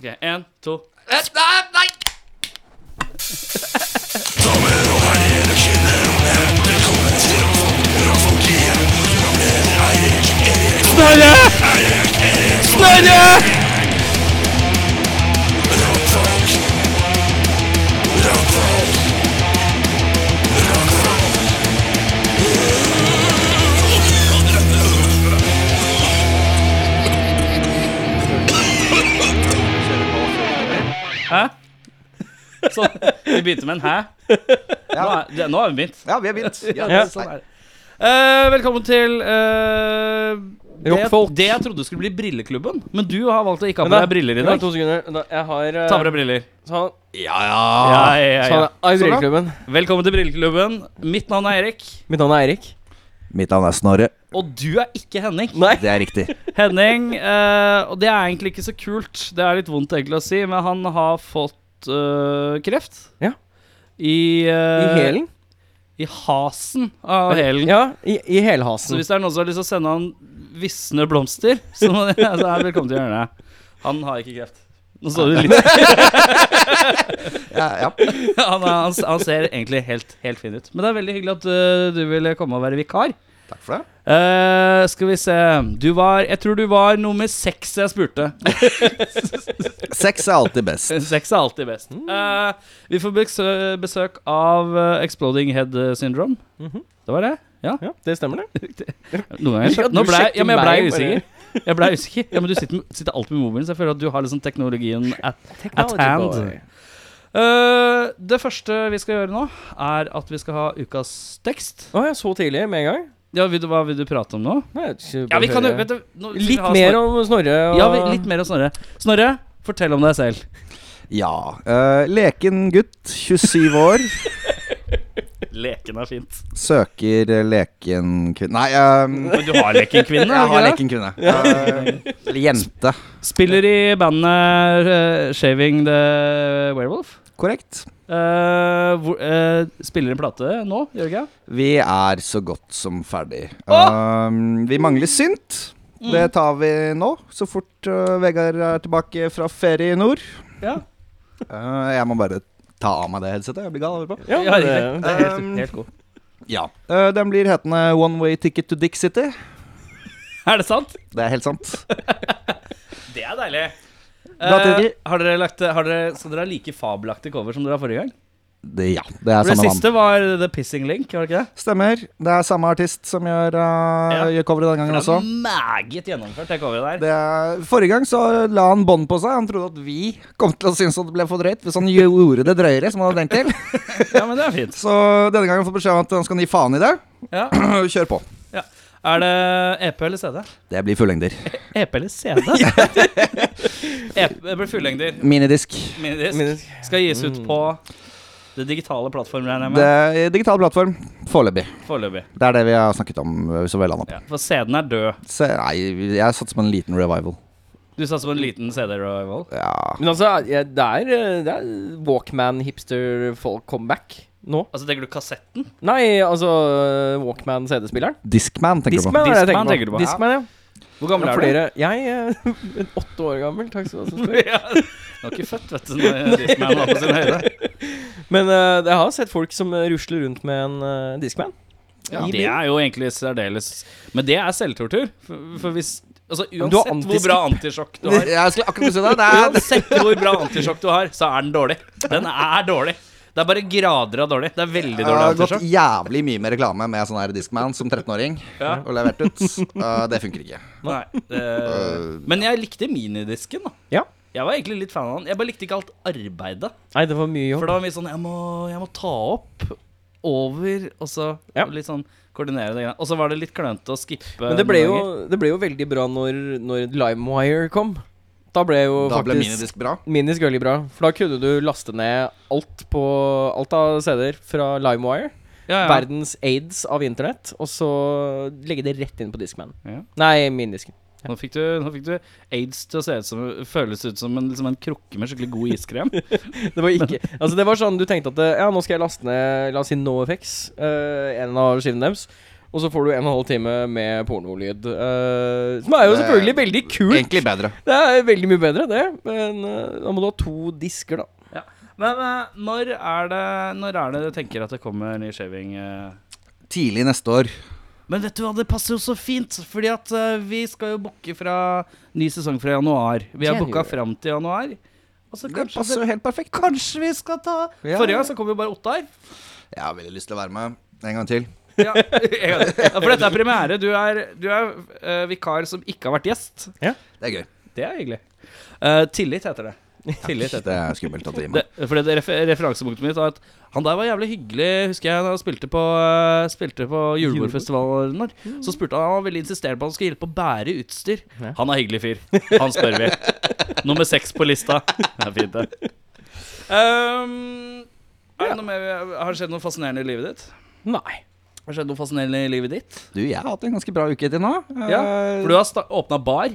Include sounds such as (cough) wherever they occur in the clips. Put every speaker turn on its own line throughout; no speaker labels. Ok, en, to.
Nei! nei.
Snorre! Snorre! Hæ? Sånn, vi begynte med en hæ. Nå,
Ja,
er, det, nå har vi begynt.
ja, vi har begynt. (laughs) Ja,
Ja,
det-
sånn er det. Eh, velkommen til eh, det,
Rockfolk.
det jeg trodde skulle bli Brilleklubben. Men du har valgt å ikke ha på
Men da-
deg briller i
Vent
dag.
to sekunder. Da, jeg har eh,
Ta med deg briller.
Sånn.
Ja,
Ja,
ja.
ja, ja.
sånn er
Sånn, da.
Brilleklubben.
Velkommen til Brilleklubben. Mitt navn er Erik.
Mitt navn er Eirik.
Mitt navn er Snorre.
Og du er ikke Henning.
Nei.
Det er riktig.
Henning, eh, og det er egentlig ikke så kult. Det er litt vondt egentlig å si, men han har fått eh, kreft.
Ja.
I,
I
eh,
hælen.
I hasen av hælen.
Ja, i, i
Så
hælhasen.
hvis det er noen som har lyst til å sende han visne blomster, så, må (laughs) det, så er det velkommen til å gjøre det. Han har ikke kreft. Nå så du litt (laughs)
Ja, ja.
han, er- han, han ser egentlig helt, helt fin ut. Men det er veldig hyggelig at eh, du ville komme og være vikar.
Takk for det.
Eh, skal vi se Du var Jeg tror du var nummer seks jeg (laughs) spurte.
Sex er alltid best.
Sex er alltid best. Eh, vi får besø besøk av eh, Exploding Head Syndrome.
Mhm.
Det var det?
Ja, det stemmer, det.
Noen ganger
Liker at
Nå
du
ble, (laughs)
sjekker
ja, men jeg blei
meg, bare.
usikker. Jeg blei usikker. Ja, men du sitter, med- sitter alltid med mobilen, så jeg føler at du har liksom teknologien at At hand.
boy.
Eh, Det første vi skal gjøre nå, er at vi skal ha ukas tekst.
Å ja, så tidlig med en gang?
Ja, vil du, Hva vil du prate om nå?
Nei, jeg skal
Ja, vi
bare
kan jo
høre.
vet du, nå,
Litt mer om Snorre og
Ja, vi, litt mer om Snorre. Snorre, fortell om deg selv.
Ja. eh, leken gutt, 27 år,
(laughs) Leken er fint.
søker leken kvinne Nei, eh,
Men du har leken (laughs) kvinne?
jeg har leken kvinne. Eh, Eller jente.
Spiller i bandet eh, Shaving the Werewolf.
Korrekt.
Eh, hvor, eh, spiller en plate nå, gjør ikke jeg?
Vi er så godt som ferdig.
Åh! Mm.
Um, vi mangler synt. Det tar vi nå, så fort uh, Vegard er tilbake fra ferie i nord.
Ja. (laughs)
Uh, jeg må bare ta av meg det headsetet. Jeg blir gal av å høre på.
Ja,
Ja,
det,
riktig. Det er helt,
Um,
helt god.
Ja. Uh, den blir hetende One Way Ticket to Dick City.
Er det sant?
Det er helt sant.
Det er deilig.
Bra tittel.
Eh, har dere lagt, har dere, skal dere ha like fabelaktig cover som dere har forrige gang?
Det, ja, det er
For det
samme mann.
siste var The Pissing Link, var det ikke det?
Stemmer. Det er samme artist som gjør, uh,
Ja.
gjør coveret denne gangen
Det
også.
er meget gjennomført, det coveret der.
Det er, forrige gang så la han bånd på seg. Han trodde at vi kom til å synes at det ble for drøyt. Hvis han gjorde det drøyere, som han
(laughs)
hadde tenkt til.
Ja, men det er fint.
Så denne gangen har jeg fått beskjed om at han skal gi faen i det. (clears throat)
Ja.
Kjør på.
Er det EP eller CD?
Det blir fullengder.
EP eller CD? EP, det blir fullengder.
Minidisk.
Minidisk.
Minidisk.
Skal gis ut på det digitale plattformen, regner jeg
Det
med.
er digital plattform. Foreløpig.
Foreløpig.
Det er det vi har snakket om øh, så vel an opp.
Ja, for CD-en er død.
Se, nei, jeg satser på en liten revival.
Du satser på en liten CD-revival?
Ja.
Men altså, ja, det er, eh, det er Walkman-hipster-folk-comeback nå.
Altså, tenker du kassetten?
Nei, altså eh, Walkman-CD-spilleren.
Diskman, tenker du på.
Discman er det jeg
Discman
tenker på. Discman, ja.
Hvor gammel
ja
er du?
flere. Jeg eh, (laughs) er åtte år gammel, takk skal du ha.
Ja. Du (laughs) var ikke født, vet du, når Discman var på sin høyde.
(laughs) Men eh, jeg har sett folk som eh, rusler rundt med en eh, Discman.
Ja.
I
Det
bil.
er jo egentlig særdeles Men det er selvtortur. For, for hvis Altså,
Men du har
uansett hvor bra antisjokk du
(laughs)
har,
Jeg skulle akkurat si det. det er,
uansett hvor bra antisjokk du har, så er den dårlig. Den er dårlig. Det er bare grader av dårlig. Det er veldig
det
dårlig
har gått
antisjokk.
jævlig mye med reklame med sånn her Discman som 13-åring
Ja.
og levert ut. Øh, det funker ikke.
Nei, eh, men jeg likte minidisken, da.
Ja.
Jeg var egentlig litt fan av den. Jeg bare likte ikke alt arbeidet.
Nei, det var mye
For
jobb.
det var mye sånn Jeg må, jeg må ta opp, over, og så
Ja.
litt sånn koordinere det greiene. Og så var det litt klønete å skippe.
Men det ble,
noen
jo,
ganger.
det ble jo veldig bra når, når Limewire kom. Da ble jo
Da ble
faktisk
minidisk bra.
Minisk veldig bra. For da kunne du laste ned alt, på, alt av CD-er fra Limewire.
ja, ja.
Verdens aids av internett. Og så legge det rett inn på Discman.
Ja.
Nei, minidisken.
Nå fikk, du, nå fikk du aids til å se ut som, føles ut som en, liksom en krukke med skikkelig god (laughs) iskrem.
Det var ikke Altså, det var sånn du tenkte at eh, Ja, nå skal jeg laste ned, la oss si NoFX, uh, en eh, av skivene deres. Og så får du en og en halv time med pornolyd. eh, som er jo
Det er
selvfølgelig veldig kult.
Egentlig bedre.
Det er veldig mye bedre, det. Men eh, da må du ha to disker, da.
Men eh, når, er det, når er det du tenker at det kommer ny shaving? eh?
Tidlig neste år.
Men vet du hva, det passer jo så fint, fordi at eh, vi skal jo booke fra ny sesong fra januar. Vi har
Januar.
booka fram til januar. Og så
Det
kanskje,
passer
det,
jo helt perfekt.
kanskje vi skal ta
Ja.
Forrige gang så kom jo bare Ottar. (laughs)
Jeg har veldig lyst til å være med en gang til.
Ja. ja, for dette er premiere. Du er, du er eh, vikar som ikke har vært gjest.
Det er gøy.
Det er hyggelig. Eh, tillit heter det. (laughs) Tillit heter det.
Det er skummelt at det gir
det
meg.
for det refer referansepunktet mitt var at han der var jævlig hyggelig, husker jeg, da han spilte på, eh, spilte på julebordfestivalen vår. Så spurte han, han var veldig insisterende på at han skulle hjelpe å bære utstyr.
Ja.
Han er hyggelig fyr. Han spør vi. Nummer seks på lista. Det er fint, det. Um, er det noe mer, vi- har det skjedd noe fascinerende i livet ditt?
Nei.
Har det skjedd noe fascinerende i livet ditt?
Du, jeg har hatt en ganske bra uke til nå.
Ja,
Eh,
For du har åpna bar.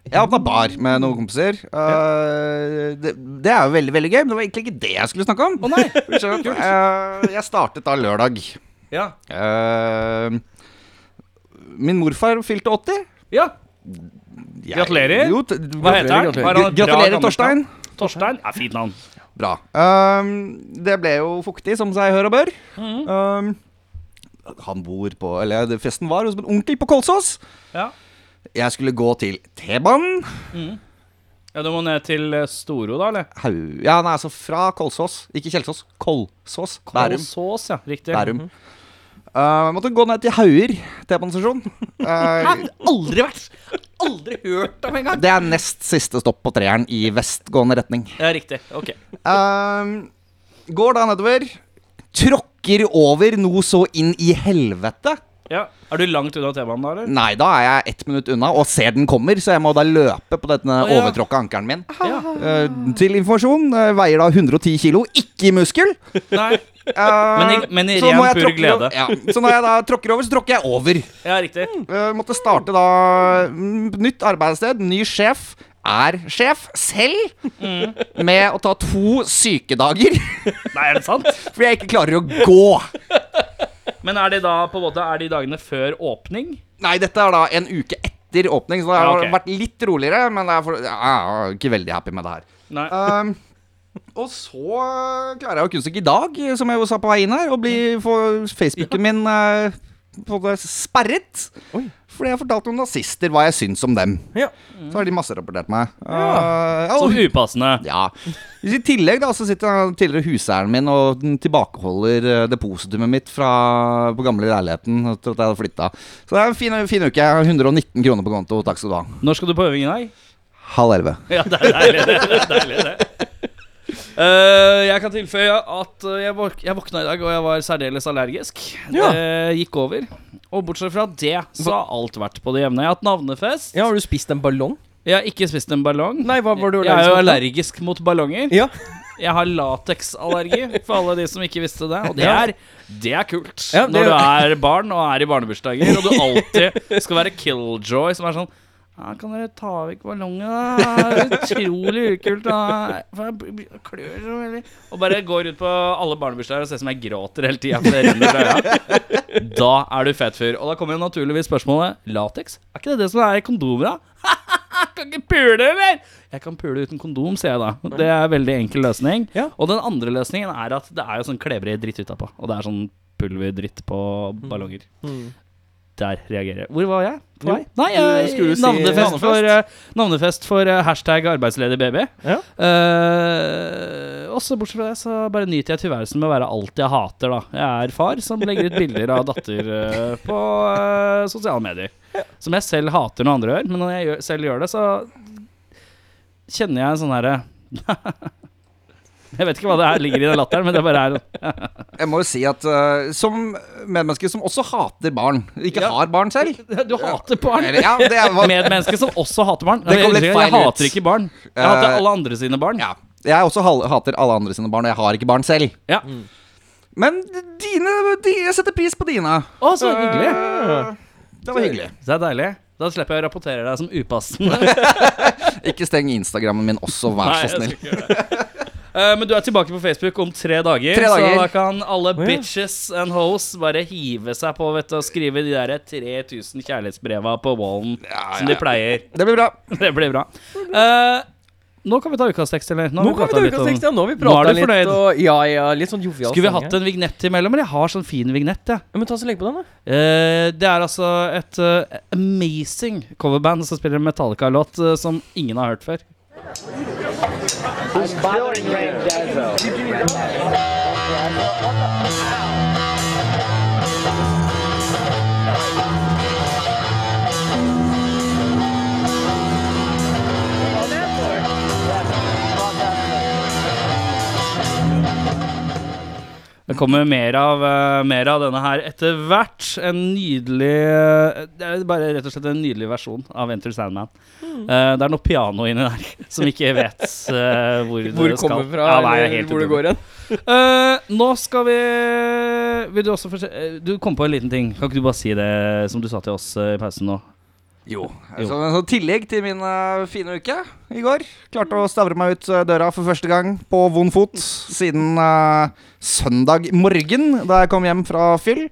Jeg åpna bar med noen kompiser. Eh, det, det er jo veldig veldig gøy, men det var egentlig ikke det jeg skulle snakke om.
Å nei!
(laughs) Skjønner du? Eh, jeg startet da lørdag.
Ja.
Eh, min morfar fylte 80.
ja.
Jeg-
Gratulerer.
Jo, t
Hva heter han? liksom.
gratulerer.
Hva er han? Bra
gratulerer,
gammelt navn?
Torstein.
Torstein er fint navn.
Bra. Ehm, det ble jo fuktig, som seg hør og bør.
Mhm.
Ehm, han bor på Eller det- festen var hos en onkel på Kolsås.
Ja.
Jeg skulle gå til T-banen.
ja, du må ned til eh, Storo, da, eller?
Hau- Ja, nei, altså fra Kolsås. Ikke Kjelsås. Kolsås. Bærum.
Kolsås, ja. Mhm. Riktig.
Bærum. Ehm, jeg måtte gå ned til Hauger
(laughs)
T-banestasjon. Ehm,
Aldri vært Aldri hørt om engang!
det er nest siste stopp på treeren i vestgående retning.
Ja, riktig. Ok.
Ehm, går da nedover. Tråkker over noe så inn i helvete.
Ja. Er du langt unna T-banen da, eller?
Nei, da er jeg ett minutt unna og ser den kommer, så jeg må da løpe på denne
Å, ja.
overtråkka ankelen min.
Ja.
Eh, til informasjon, eh, veier da 110 kilo, ikke i muskel.
Nei.
Eh,
i- (laughs) men i
så
ren
må jeg
pur
tråkke
glede.
over- Ja. Så når jeg da tråkker over, så tråkker jeg over.
Ja, riktig.
Eh, måtte starte da mm, nytt arbeidssted, ny sjef. Er sjef selv med å ta to sykedager (laughs)
Nei, er det sant?
fordi jeg ikke klarer å gå.
Men er de da på en måte Er de dagene før åpning?
Nei, dette er da en uke etter åpning, så det har
Ja, ok.
vært litt roligere. Men jeg er, for, jeg er ikke veldig happy med det her.
Nei.
Um, og så klarer jeg jo kunststykket i dag, som jeg jo sa på vei inn her, å bli, få Facebooken min eh, på en måte sperret.
Oi.
Fordi jeg fortalte noen nazister hva jeg syns om dem.
Ja.
Så har de masserapportert meg.
Ja.
Eh, ja, og-
Så upassende.
ja. I tillegg da, så sitter den tidligere huseieren min og den tilbakeholder eh, depositumet mitt fra, på gamle leiligheten. Etter at jeg hadde flytta. Så det er en fin, fin uke. Jeg har 119 kroner på konto. Takk skal du ha.
Når skal du på øving i dag?
Halv elleve.
Ja, det er deilig, det. det, er deilig, det. Eh, jeg kan tilføye at eh, jeg, våk jeg våkna i dag, og jeg var særdeles allergisk.
Ja.
Det gikk over. Og bortsett fra det, så har alt vært på det jevne. Jeg har hatt navnefest.
Har du spist en ballong?
Jeg har ikke spist en ballong.
Nei, hva var du
Jeg er jo
mot da?
allergisk mot ballonger.
(laughs) Ja.
Jeg har lateksallergi, for alle de som ikke visste det. Og det
Ja.
er, det er kult.
Ja, det-
Når du er barn og er i barnebursdager, og du alltid skal være killjoy, som er sånn ja, kan dere ta vekk ballongen? da? Det er Utrolig ukult. Da. For jeg blir- blir- klør så veldig. Og bare går ut på alle barnebursdager og ser som jeg gråter hele tida. Da er du fet fyr. Og da kommer jo naturligvis spørsmålet Latex? Er ikke det det som er i kondomer, da? (laughs) kan ikke pule, eller? Jeg kan pule uten kondom, sier jeg da. Det er en veldig enkel løsning.
Ja.
Og den andre løsningen er at det er jo sånn klebrig dritt utapå. Og det er sånn pulverdritt på
Mm.
ballonger. Der reagerer jeg. Hvor var jeg? På
Jo,
vei? Nei,
du
jeg-
skulle si
navnefest,
navnefest.
for, eh, navnefest for eh, hashtag arbeidsledig baby.
Ja.
Eh, også bortsett fra det, så bare nyter jeg tilværelsen med å være alt jeg hater, da. Jeg er far som legger ut bilder av datter eh, på eh, sosiale medier. Som jeg selv hater når andre gjør, men når jeg gjør, selv gjør det, så kjenner jeg en sånn herre (laughs) Jeg vet ikke hva det er ligger i den latteren, men det bare er
Jeg må jo si at eh, som medmenneske som også hater barn Ikke
Ja.
har barn selv.
Du hater barn!
Eller, ja, det
(laughs)
er, hva,
Medmennesker som også hater barn.
Det kom litt
jeg,
feil
jeg
ut.
hater ikke barn. Jeg hater
Eh,
alle andre sine barn.
ja. Jeg også hal- hater alle andre sine barn, og jeg har ikke barn selv.
Ja.
Men dine, de, jeg setter pris på dine.
Å, så hyggelig!
Eh. Det var hyggelig.
Så Det er deilig. Da slipper jeg å rapportere deg som upassende.
Ikke steng Instagrammen min også, vær så snill.
Nei, jeg skal ikke gjøre det. Eh, men du er tilbake på Facebook om tre dager,
Tre dager.
så da kan alle
ja.
bitches and hoes bare hive seg på vet du, og skrive de der 3000 kjærlighetsbreva på wallen som de pleier. (laughs)
Det blir bra.
Det blir bra. Eh, nå kan vi ta ukas tekst, eller?
Nå,
har vi
kan vi
pratet
ta
litt om-
ukas tekst, ja. Nå har
Nå
vi
er
prata
du
litt.
fornøyd.
Og, ja, ja, litt sånn
Skulle
jovial
vi
stemning
hatt
her.
en vignett imellom? Eller jeg har sånn fin vignett, jeg.
Ja, Men ta så lenge på den, da.
Eh, det er altså et eh, amazing coverband som spiller en Metallica-låt eh, som ingen har hørt før. Det kommer mer av, eh, mer av denne her etter hvert. En nydelig eh, Det er bare rett og slett en nydelig versjon av Enter Sandman.
Mm.
Eh, det er noe piano inni der (laughs) som ikke vet eh, hvor, det
Hvor det
skal.
kommer fra,
Ja, nei, det er
eller
helt
hvor det
utrolig.
går hen.
Eh, nå skal vi Vil du også fortelle eh, Du kom på en liten ting. Kan ikke du bare si det som du sa til oss eh, i pausen nå?
Jo. Så, så tillegg til min eh, fine uke i går. Klarte å stavre meg ut eh, døra for første gang på vond fot siden eh, søndag morgen, da jeg kom hjem fra fyll.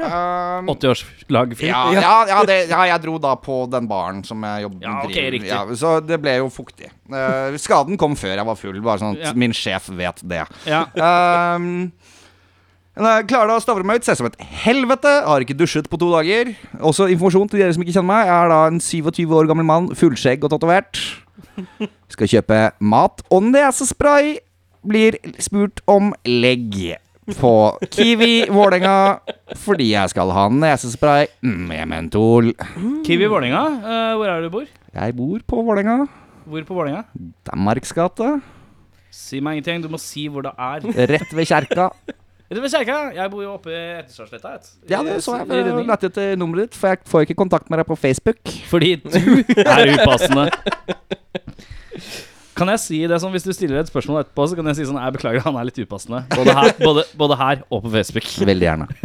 Um,
Mm.
80-årslag-film?
ja, ja, ja, det, ja, jeg dro da på den baren som jeg jobber
Ja, ok, riktig.
så det ble jo fuktig. Eh, skaden kom før jeg var full, bare sånn at
Ja.
min sjef vet det.
Ja.
Um, jeg klarer da å stavre meg ut. Ser ut som et helvete. Har ikke dusjet på to dager. Også informasjon til dere som ikke kjenner meg. Jeg er da en 27 år gammel mann, fullskjegg og tatovert. Skal kjøpe mat og nesespray. Blir spurt om legg på Kiwi Vålerenga fordi jeg skal ha nesespray med mentol.
Mm.
Kiwi Vålerenga, eh, hvor er det du bor?
Jeg bor på Vålerenga.
Hvor på Vålerenga?
Danmarks gate.
Si meg ingenting. Du må si hvor det er.
Rett ved kjerka.
Vet du hva, kjerka? Jeg bor jo oppe i Etterstadsletta. vet du.
Ja, det så jeg.
I
Jeg
Runding.
lette etter nummeret ditt, for jeg får ikke kontakt med deg på Facebook.
Fordi (laughs) du er upassende. Kan jeg si det sånn, Hvis du stiller et spørsmål etterpå, så kan jeg si sånn Jeg beklager, han er litt (laughs) upassende. Både her, både, både her og på Facebook.
Veldig gjerne.
(laughs)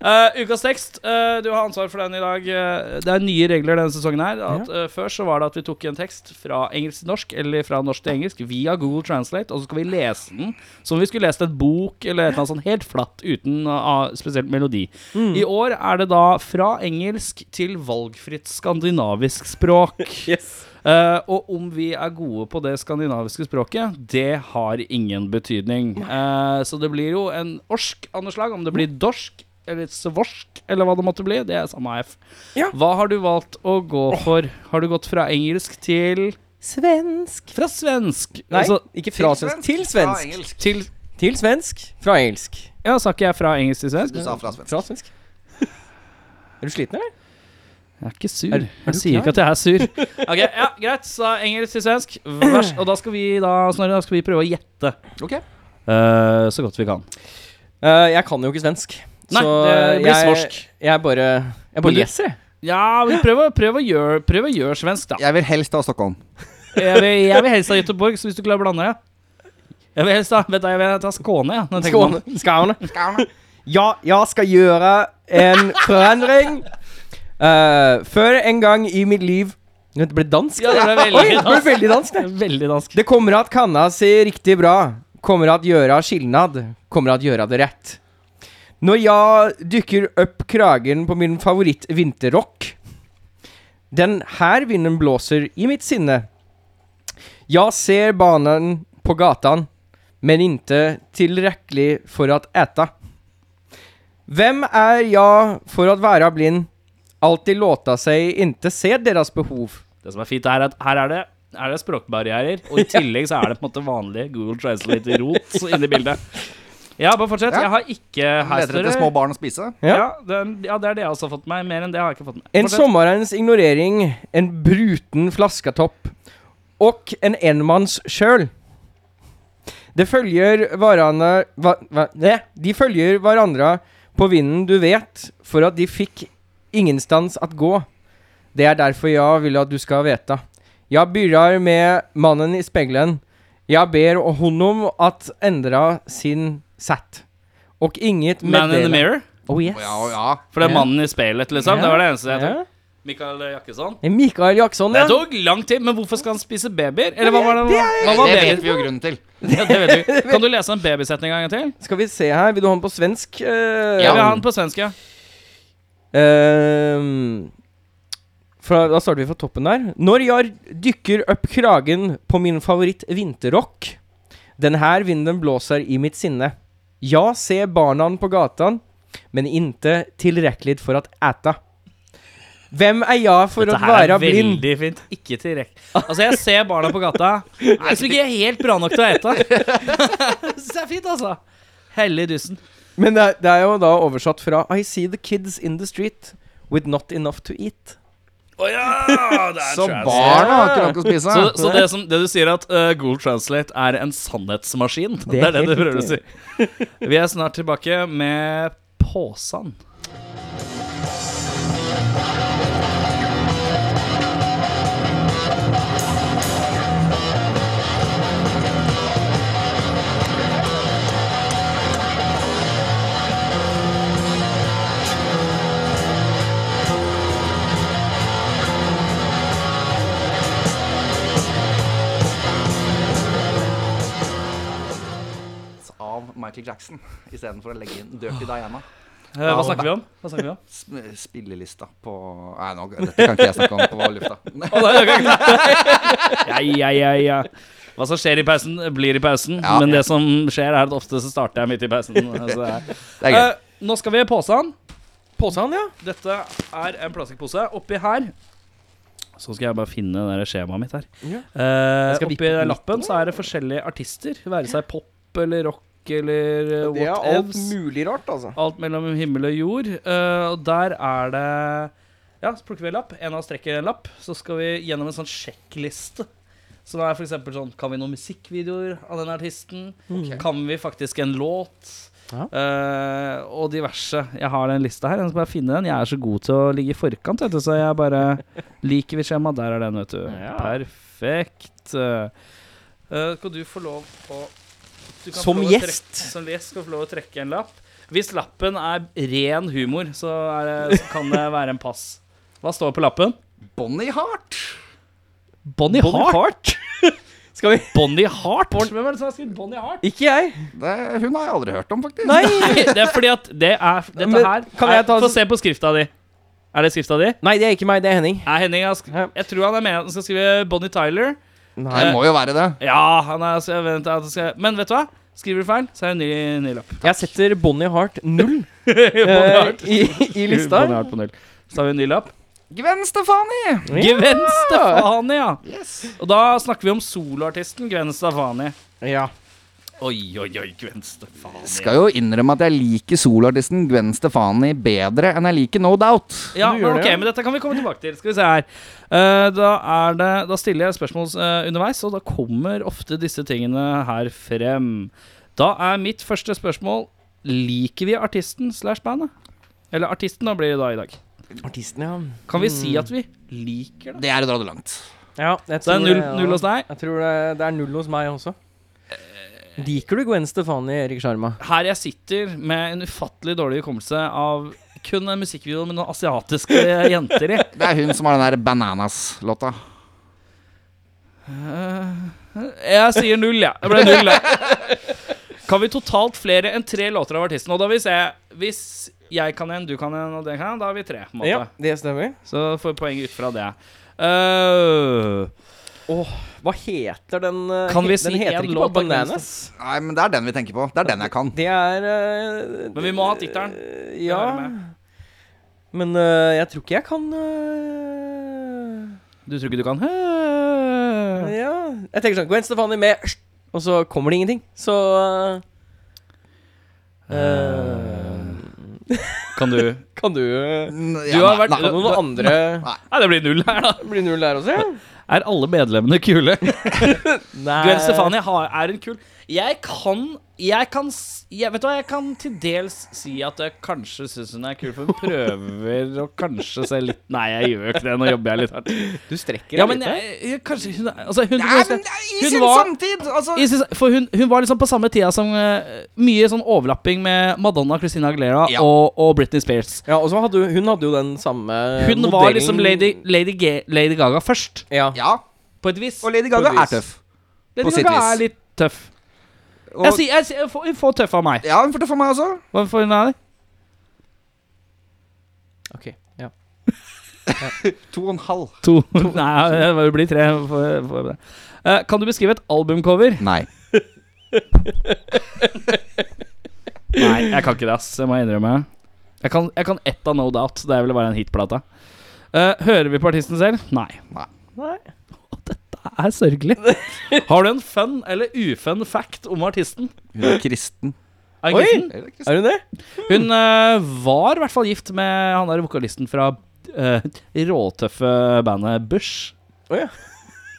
Eh, ukas tekst. eh, du har ansvar for den i dag. Eh, det er nye regler denne sesongen her. At, eh, før så var det at vi tok en tekst fra engelsk til norsk, eller fra norsk til engelsk, via Google Translate, og så skal vi lese den som om vi skulle lest et bok eller et eller annet sånt helt flatt, uten uh, spesielt melodi. I år er det da fra engelsk til valgfritt skandinavisk språk.
Yes.
Eh, og om vi er gode på det skandinaviske språket, det har ingen betydning. Eh, så det blir jo en orsk av noe slag. Om det blir dorsk eller svorsk eller hva det måtte bli, det er samme F.
Ja.
Hva har du valgt å gå for? Har du gått fra engelsk til
Svensk.
Fra svensk?
Nei,
Altså,
ikke fra svensk. Til svensk.
til
Til svensk. Fra engelsk.
Ja, sa ikke jeg fra engelsk til svensk?
Du sa fra svensk.
Fra svensk. Er du sliten, eller?
Jeg er ikke sur.
Er- er
jeg
du
sier ikke at jeg er sur. Ok, ja, Greit, så engelsk til svensk. Vær så- Og da skal vi da, Snorre, da skal vi prøve å gjette
Ok.
eh, så godt vi kan.
Eh, jeg kan jo ikke svensk.
Nei, det blir
jeg,
svorsk.
Jeg bare, jeg
Men
bare
du-
leser, jeg.
Ja, men prøv å, prøv å, gjøre, prøv å gjøre svensk, da.
Jeg vil helst ha Stockholm.
Jeg vil, jeg vil helst ha Göteborg, så hvis du klarer å blande det Jeg vil helst da, vet du, jeg vil ta Skåne, ja. når jeg tenker meg om.
Skåne. Skåne. Ja, jeg skal gjøre en forandring. Eh, før en gang i mitt liv Det ble dansk.
Ja, det ble veldig
Oi, det ble
dansk.
veldig dansk det.
Veldig dansk.
Det kommer at kanna si riktig bra. Kommer at gjøre skillnad. Kommer at gjøre det rett. Når jeg dykker opp kragen på min favoritt vinterrock Den her vinden blåser i mitt sinne. Jeg ser banen på gatan, men ikke tilrekkelig for at äta. Hvem er jeg for at være blind? Alltid låta seg ikke se deres behov.
Det som er fint, er at her er det er det språkbarrierer, og i tillegg så er det på en måte vanlig Google Translate-rot inne i bildet. Ja, bare fortsett.
Ja.
Jeg har ikke her
Leter etter små barn å spise.
Ja. det er- ja, det er det jeg også har fått med meg. Mer enn det har jeg ikke fått med
En
Fortsett.
sommarens ignorering, en bruten flasketopp og en enmanns kjøl. Det følger hverandre hva, hva, ne, De følger hverandre på vinden, du vet, for at de fikk ingenstans at gå. Det er derfor jeg vil at du skal vite. Jeg begynner med mannen i spegelen. Jeg ber honom at endre sin sett. Og inget
Man in the
meddele-
Mirror.
Oh yes.
Ja, ja.
For det er
Ja.
mannen i speilet, liksom.
Ja.
Det var det eneste jeg tok.
Ja.
Mikael Jakkesson.
Mikael Jackson,
Det
ja.
tok lang tid, men hvorfor skal han spise babyer? Eller hva var det? Hva var
Det vet
baby?
vi jo grunnen til.
Ja, (laughs) det vet vi. Kan du lese en babysetning en gang til?
Skal vi se her. Vil du ha den på svensk? Eh,
Ja. Eller han på svensk, ja.
Ehm, fra, da starter vi fra toppen der. Når jeg dykker opp kragen på min favoritt vinterrock. Den her vinden blåser i mitt sinne. Jeg ser barna på gatan, men inte tilrekkelig for at äta. Hvem er jeg for å være blind?
veldig fint. Ikke direkte. Altså, jeg ser barna på gata. Nei, Jeg tror ikke jeg er helt bra nok til å ete. (laughs) Så det er fint, altså. Hellig dussen.
Men det er, det er jo da oversatt fra I see the kids in the street with not enough to eat.
Å ja! Det
Så barna har ikke nok å spise.
Så, så det, som, det du sier at uh, Google Translate er en sannhetsmaskin, det er, det
helt
du prøver å si.
riktig.
Vi er snart tilbake med Påsan.
(laughs) Av Michael Jackson istedenfor å legge inn Dirty Diana.
Eh, hva snakker vi om? Hva snakker vi om?
Sp- Spillelista på Nei, nå, dette kan ikke jeg snakke om på lufta. (laughs)
Ja, ja, ja, ja. Hva som skjer i pausen, blir i pausen.
Ja.
Men det som skjer, er at ofte så starter jeg midt i pausen. Altså, det er-
Det er gøy.
Eh, nå skal vi i Påsan.
Påsan, ja.
Dette er en plastikkpose. Oppi her Så skal jeg bare finne det der skjemaet mitt her.
Ja.
Eh,
Jeg skal vippe
oppi
den litt
lappen så er det forskjellige artister. Være seg pop eller rock eller
Det er
what
alt
else.
mulig rart, altså.
Alt mellom himmel og jord. eh, og der er det Ja, så plukker vi en lapp. En av oss trekker en lapp. Så skal vi gjennom en sånn sjekkliste. Så da er for eksempel sånn Kan vi noen musikkvideoer av den artisten? Kan vi faktisk en låt?
Ja.
Eh, og diverse. Jeg har den lista her. Jeg skal bare finne den. Jeg er så god til å ligge i forkant, vet du, så jeg bare liker vi skjemaet. Der er den, vet du. Perfekt. Eh, skal du få lov å du kan
Som
få lov å
gjest.
Trekke, som gjest skal du få lov å trekke en lapp. Hvis lappen er ren humor, så, er det, så kan det være en pass. Hva står på lappen?
Bonnie Hart.
Bonnie
Bonnie Hart. Skal vi
Bonnie Hart? Hvem er det som har skrevet Bonnie Hart?
Ikke jeg.
Det, hun har jeg aldri hørt om, faktisk.
Nei.
Nei, (laughs) det er fordi at det er (laughs) Dette
Men
her
kan jeg
er-
ta-
Få se på skrifta di. Er det skrifta di?
Nei, det er ikke meg. Det er Henning.
Er Henning har sk-
Ja.
Jeg tror han er med Han skal skrive Bonnie Tyler.
Det må jo være det.
Ja, han er så jeg venter at han skal, Men vet du hva? Skriver du feil, så er det en ny, ny lapp.
Jeg setter Bonnie Hart null
(laughs) Bonnie
eh,
Hart.
i, i lista.
Bonnie Hart på null. Så har vi en ny lapp.
Gwen Stefani.
Gwen Stefani, ja.
Yes.
Og da snakker vi om soloartisten Gwen Stefani.
Ja.
Oi, oi, oi, Gwen Stefani.
Skal jo innrømme at jeg liker soloartisten Gwen Stefani bedre enn jeg liker No Doubt.
Ja,
Du
men
gjør
ok,
det, ja.
men dette kan vi komme tilbake til. Skal vi se her. Eh, da, er det, da stiller jeg spørsmål eh, underveis, og da kommer ofte disse tingene her frem. Da er mitt første spørsmål Liker vi artisten slash bandet? Eller artisten da blir det da i dag.
Artisten, ja.
Kan vi si at vi liker det?
Det er å dra det langt.
ja jeg
Så Mm. det er
tror
null,
ja.
null hos deg.
Jeg tror det, det er null hos meg også. Liker du Gwen Stefani, Erik Sjarma?
her jeg sitter med en ufattelig dårlig hukommelse av kun en musikkvideo med noen asiatiske jenter i.
Det er hun som har den der Bananas-låta.
Jeg sier null, jeg. Det ble null, jeg. Kan vi totalt flere enn tre låter av artisten? Og da vil vi se Hvis jeg kan en, du kan en, og det kan en, da har vi tre. På en måte.
Ja, det stemmer.
Så får vi poeng ut fra det. Øh,
Hva heter den eh,
Kan vi
he-
si
Den heter
en
ikke
låt
bare
av Gwen
Bananas.
Nei, men det er den vi tenker på. Det er den jeg kan.
Det er eh,
Men vi må ha tittelen.
eh,
Det
Ja.
hører med.
Men eh, jeg tror ikke jeg kan eh,
du tror ikke du kan
Ja. Jeg tenker sånn Gwen Stefani med Og så kommer det ingenting. Så eh,
Kan du
Kan du eh,
Du har vært-
Kan noen andre
Nei, det blir null her, da.
bli null der også? Ja?
Er alle medlemmene kule?
Nei.
Gwen Stefani har, er en kul Jeg kan Jeg kan, s- jeg, vet du hva, jeg kan til dels si at jeg kanskje syns hun er kul, for hun prøver å kanskje se litt Nei, jeg gjør jo ikke det. Nå jobber jeg litt hardt.
Du strekker
Ja,
deg
men
litt,
jeg, jeg, kanskje hun er altså, hun,
Nei, men i
hun
sin
var-
samtid! Altså,
jeg synes- For hun, hun var liksom på samme tida som eh, Mye sånn overlapping med Madonna, Christina Aguilera
Ja.
og, og Britney Spears.
Ja, og så hadde hun, hun hadde jo den samme
Hun
Eh, modellen.
var liksom Lady, Lady, Ga- Lady Gaga først,
Ja.
ja,
på et vis.
og Lady Gaga
På
er
et vis.
tøff.
Lady
på sitt
Gaga
vis.
er litt tøff.
Og,
Jeg sier, jeg sier, hun får- hun får tøff av meg.
ja, hun får tøff av meg også.
Hva får hun av deg?
Ok, ja.
To og en halv.
To. (laughs) Nei, det blir tre. Hun får- får det. Eh, Kan du beskrive et albumcover?
Nei.
Nei, jeg kan ikke det, ass. Jeg må innrømme. Jeg kan, jeg kan ett av No Doubt. Det ville være en hitplate. Eh, hører vi på artisten selv? Nei.
Nei.
Nei.
Å, dette er sørgelig.
(laughs)
Har du en fun eller ufun fact om artisten?
Hun er kristen.
Er
Oi!
kristen?
Er det kristen?
Er hun det?
Hun eh, var i hvert fall gift med han der vokalisten fra eh, råtøffe bandet Bush.
Å ja.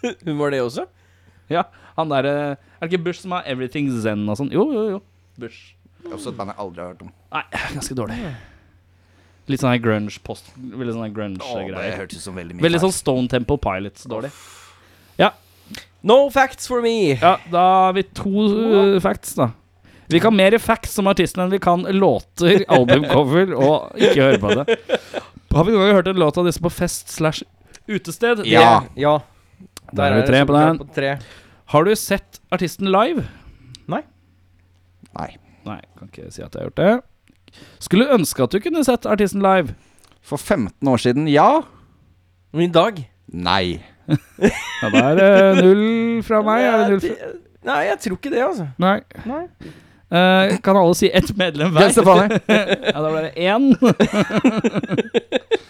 Hun var det også?
Ja, han derre Er det ikke Bush som har Everything Zen og sånn? Jo, jo, jo. Bush.
Det er Også et band jeg aldri har hørt om.
Nei, ganske dårlig. Litt sånn her grunge-post Veldig sånn her
Å, det
grunge-greier.
hørtes ut som veldig mye
Veldig
feil.
sånn Stone Temple Pilots dårlig.
No facts for me.
Ja, da har vi to uh, facts, da. Vi kan mer facts som artisten enn vi kan (laughs) låter, albumcover og ikke høre på det. Har vi noen gang hørt en låt av disse på fest slash utested?
Ja.
ja.
Der er vi tre
det
på den.
solklart på tre.
Har du sett artisten live?
Nei.
Nei, kan ikke si at jeg har gjort det. Skulle ønske at du kunne sett artisten live.
For 15 år siden, ja.
Men i dag
Nei.
Ja, da er (laughs) det null fra meg. Er det null fra?
Jeg- Nei, jeg tror ikke det, altså.
Nei.
Nei.
Eh, kan alle si ett medlem hver? Ja, da ble det én. (laughs)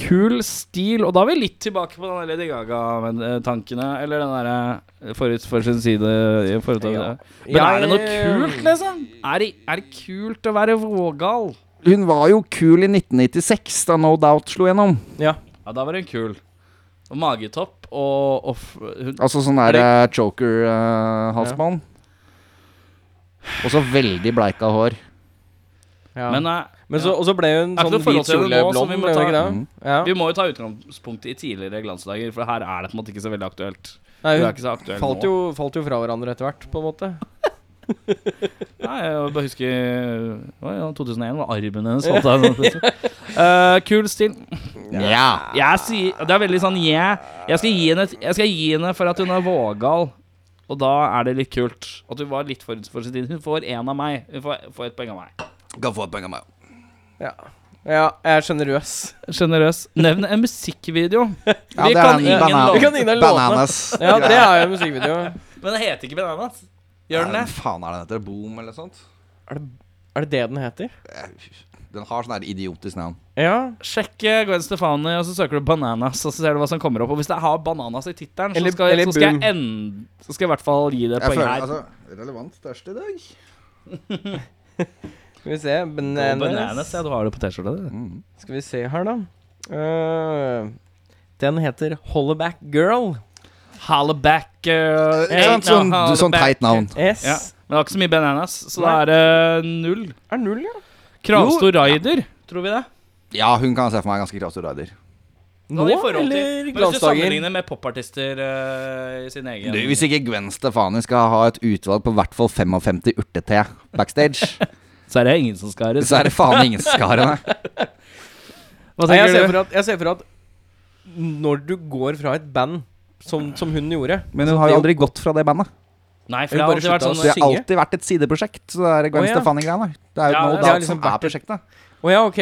Kul stil. Og da er vi litt tilbake på den Lady Gaga-tankene. Eller den derre forut for sin side. I forhold til
Ja.
det. Men er det noe
Jeg-
kult, liksom? Er det, er det kult å være vågal?
Hun var jo kul i 1996, da No Doubt slo gjennom.
Ja.
Ja, da var hun kul. Og magetopp og, og f- hun,
Altså sånn der eh, choker-halsbånd. Og så veldig bleika hår.
ja.
Men
Men,
eh,
så, og så ble hun
Er ikke
sånn
noe forhold
hvit
til det
kjole
nå, så
blond,
vi må
ble hun
ta-
ikke det?
Mm.
Ja.
vi må jo ta utgangspunkt i tidligere glansdager, for her er det på en måte ikke så veldig aktuelt.
Nei,
Hun er
hun
ikke så aktuell
falt
nå.
jo, falt jo fra hverandre etter hvert, på en måte.
Nei, jeg bare husker Å ja, 2001 var armen hennes. falt av. sånn, Eh, kul stil.
Ja.
Jeg sier, det er veldig sånn yeah. jeg, skal gi henne, et- jeg skal gi henne for at hun er vågal. Og da er det litt kult at hun var litt forut for sin tid. Hun får én av meg. Hun får, får et poeng av meg.
Kan få et poeng av meg.
Ja, ja jeg er sjenerøs.
Sjenerøs. Nevn en musikkvideo.
Ja,
Vi
det er
kan
en
ingen
banan-
låt.
Vi kan
(laughs)
ingen låt,
Bananas.
(laughs) Ja, det er jo en musikkvideo.
Men det heter ikke Bananas. Gjør den
Hva
det?
faen er den heter? Boom, eller sånt?
Er det det den heter?
Den har sånn der idiotisk navn.
Ja.
Sjekk eh, Gwen Stefani, og så søker du Bananas, og så ser du hva som kommer opp. Og hvis det har Bananas i tittelen, så,
Eller-
skal jeg-
eller
så, skal jeg
Boom.
end- så skal jeg i hvert fall gi det et poeng
altså-
her.
Relevant størst i dag.
Skal vi se
Bananas.
Bananas.
ja, du har det på T-skjorta. du.
Mm.
Skal vi se her, da. Eh, den heter Hollaback Girl.
Hollaback uh,
Sånn, sånn teit navn.
S
Ja, men det var ikke så mye bananas, så da
Nei.
er det null.
er null, ja.
Kravstor Raider, tror vi det?
Ja, hun kan se for meg ganske kraftig rider.
Da
Nå
i forhold til-
eller
Men Hvis du
glansdager?
sammenligner med popartister eh, i sin egen
Du, hvis ikke Gwen Stefani skal ha et utvalg på hvert fall 55 urtete
(laughs)
backstage,
Så er det ingen som skal ha det.
så er det faen ingen som skal ha henne.
Hva
Nei, jeg, ser
tenker du?
for at, jeg ser for at når du går fra et band som, som hun gjorde
Men hun har jo aldri gått fra det bandet.
Nei, for
Hun
det har
bare
alltid vært
slutta
sånn
Så det har
synge?
alltid vært et sideprosjekt. Så det er Gwen
Å, ja.
Stefani-greiene. Det er jo
Ja,
No
det har
Doubt
liksom
som
vært
er prosjektet.
Å ja, ok.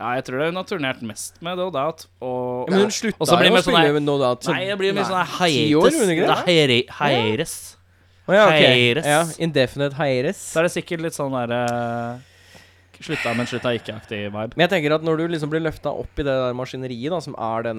Ja, jeg tror det hun har turnert mest med No Doubt. Og,
Men hun
og så
slutta
blir det
jo å
med sånn
spille
her
med No Doubt. som-
Nei, det blir mye sånn her
Ti år,
hiatus.
gjorde hun ikke
Det
det?
er hiere- hiatus.
Å ja, ok.
hiatus.
Ja, indefinite hiatus.
Så er det sikkert litt sånn derre Slutta, men slutta ikke-aktig vibe.
Men jeg tenker at når du liksom blir løfta opp i det der maskineriet, da, som er den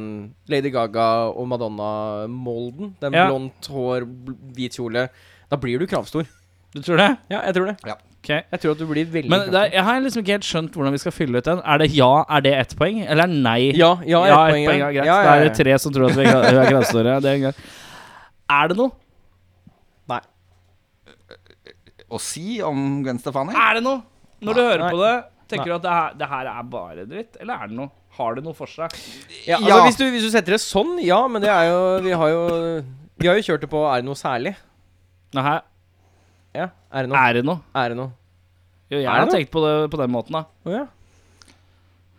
Lady Gaga og Madonna-molden, den
Ja.
blondt hår, bl- hvit kjole, da blir du kravstor.
Du tror det?
Ja, jeg tror det.
Ok
Jeg tror at du blir veldig
Men det, er-
kravstor.
jeg har liksom ikke helt skjønt hvordan vi skal fylle ut den. Er det ja, er det ett poeng? Eller er nei?
Ja, ja,
Ja, ett
ett poeng,
poeng. Ja,
ja.
greit.
Ja, ja,
Da er
ja.
det tre som tror at vi er gra- vi er gradsstore. Det er greit. Er det noe?
Nei.
å si om Gwen Stefani?
Er det noe? Når du hører
Nei.
på det, tenker du at det her, det her er bare dritt, eller er det noe? Har det noe for seg?
Ja, altså,
Ja.
Hvis, du, hvis du setter det sånn, ja, men det er jo Vi har jo, vi har jo kjørt det på Er det noe særlig?
Nei, her-
Ja. Er det noe?
er det noe?
Er det noe?
Jo, jeg
Er
har
det noe?
tenkt på det på den måten, da.
Å ja.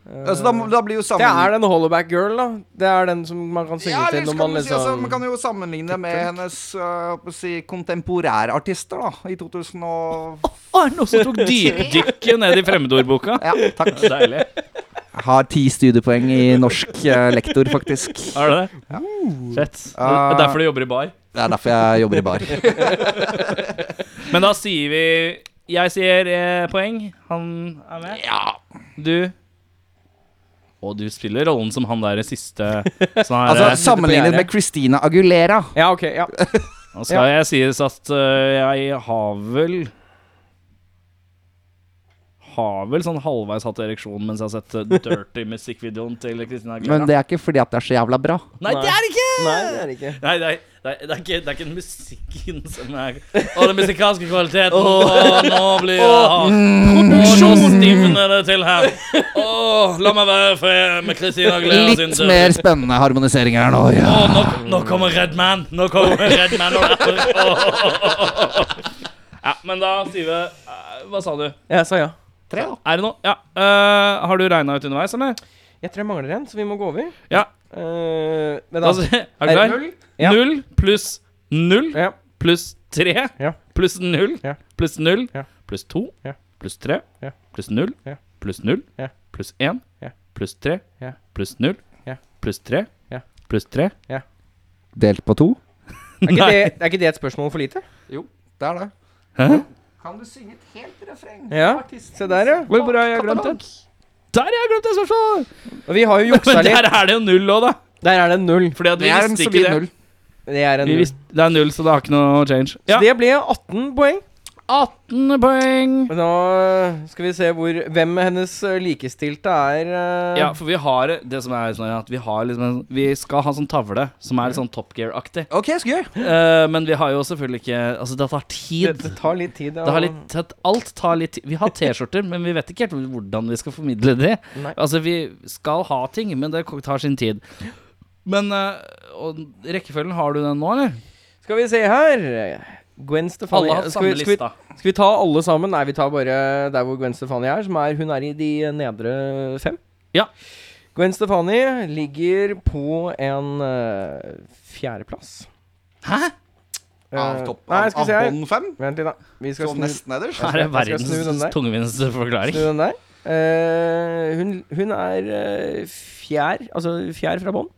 Eh,
Altså, da, må- da blir jo sammen...
Det er den Hollowback Girl, da. Det er den som man kan synge
Ja,
til
eller skal
når man
man, si, altså,
liksom
man kan jo sammenligne med hennes øh, på å si, kontemporærartister da, i 2000 og...
Å, er det noen som tok dypdykket ned i fremmedordboka?
Ja, takk. (laughs)
Deilig.
Har ti studiepoeng i norsk øh, lektor, faktisk.
Er det det? Fett. Det er derfor du jobber i bar.
Det er derfor jeg jobber i bar.
Men da sier vi Jeg sier eh, poeng. Han er med.
Ja.
Du Og du spiller rollen som han der siste sånn her,
Altså,
eh,
sammenlignet med Christina Agulera.
Ja, ok. ja
Nå skal jeg sies at øh, jeg har vel Har vel sånn halvveis hatt ereksjon mens jeg har sett øh, Dirty Music-videoen til Kristina Aguilera.
Men det er ikke fordi at det er så jævla bra.
Nei, det er det ikke!
Nei, det er det ikke.
Nei, det er, det, er, det, er ikke, det er ikke musikken som er Og den musikalske kvaliteten Åh, nå blir jeg hard. Åh, nå stivner det til her. Åh, la meg være fred med Christina Aguilera sin
Litt mer spennende harmonisering her nå, ja.
Åh, nå, nå kommer Red Man. Nå kommer Red Man og rapper. Åh, åh, åh, åh, åh. Ja, men da, Stive, eh, hva sa du?
Jeg sa ja.
Tre, da.
Er det noe? Ja. eh, har du regna ut underveis, eller?
Jeg tror jeg mangler en, så vi må gå over.
Ja.
Eh, men da
Altså, er du klar?
null? Ja.
Null pluss null
Ja.
pluss tre
Ja.
pluss null
Ja.
pluss null
Ja.
pluss to
Ja.
pluss tre
Ja.
pluss null
Ja.
pluss null
Ja.
pluss én
Ja.
pluss tre
Ja.
pluss null
Ja.
pluss tre
Ja.
pluss tre
Delt på to.
Er, ikke
Nei.
det, er ikke det et spørsmål for lite?
Jo, det er det.
Hæ?
Kan du synge et helt refreng?
Ja. Se der, ja.
Hvor hvor har jeg glemt det? Der har jeg glemt det spørsmålet!
Og
(laughs)
vi har jo
Men
juksa
der
litt.
er det jo null òg, da.
Der er det en null.
Fordi at vi
Det er en
visste
solid
ikke det.
null.
Det er en
Vi
null.
visste, det er null, så det har ikke noe change.
Så
Ja.
det ble 18 poeng.
18 poeng.
Men nå skal vi se hvor, hvem hennes eh, likestilte er. eh,
Ja, for vi har det som er sånn at vi har liksom en, Vi skal ha sånn tavle som er litt sånn Top Gear-aktig.
Ok, så gøy.
Eh, men vi har jo selvfølgelig ikke Altså, det tar tid.
det, det tar litt tid.
Det har litt, tatt- alt tar litt tid. Vi har T-skjorter, men vi vet ikke helt hvordan vi skal formidle det.
Nei.
Altså, vi skal ha ting, men det ko- tar sin tid. Men eh, og rekkefølgen, har du den nå, eller?
Skal vi se her Gwen Stefani.
Alle har hatt
skal,
samme
vi, skal,
lista.
vi, skal vi ta alle sammen? Nei, vi tar bare der hvor Gwen Stefani er, som er Hun er i de nedre fem.
Ja.
Gwen Stefani ligger på en eh, fjerdeplass.
Hæ?
Eh,
Av topp,
Nei,
av,
skal
av
vi se her.
bånd fem.
Vent litt, da. Vi skal
Så
snu,
nesten nederst.
Her er
skal- jeg skal snu den der.
verdens tungvinte forklaring.
snu den der. Eh, hun, hun er eh, fjær, altså fjær fra bånn.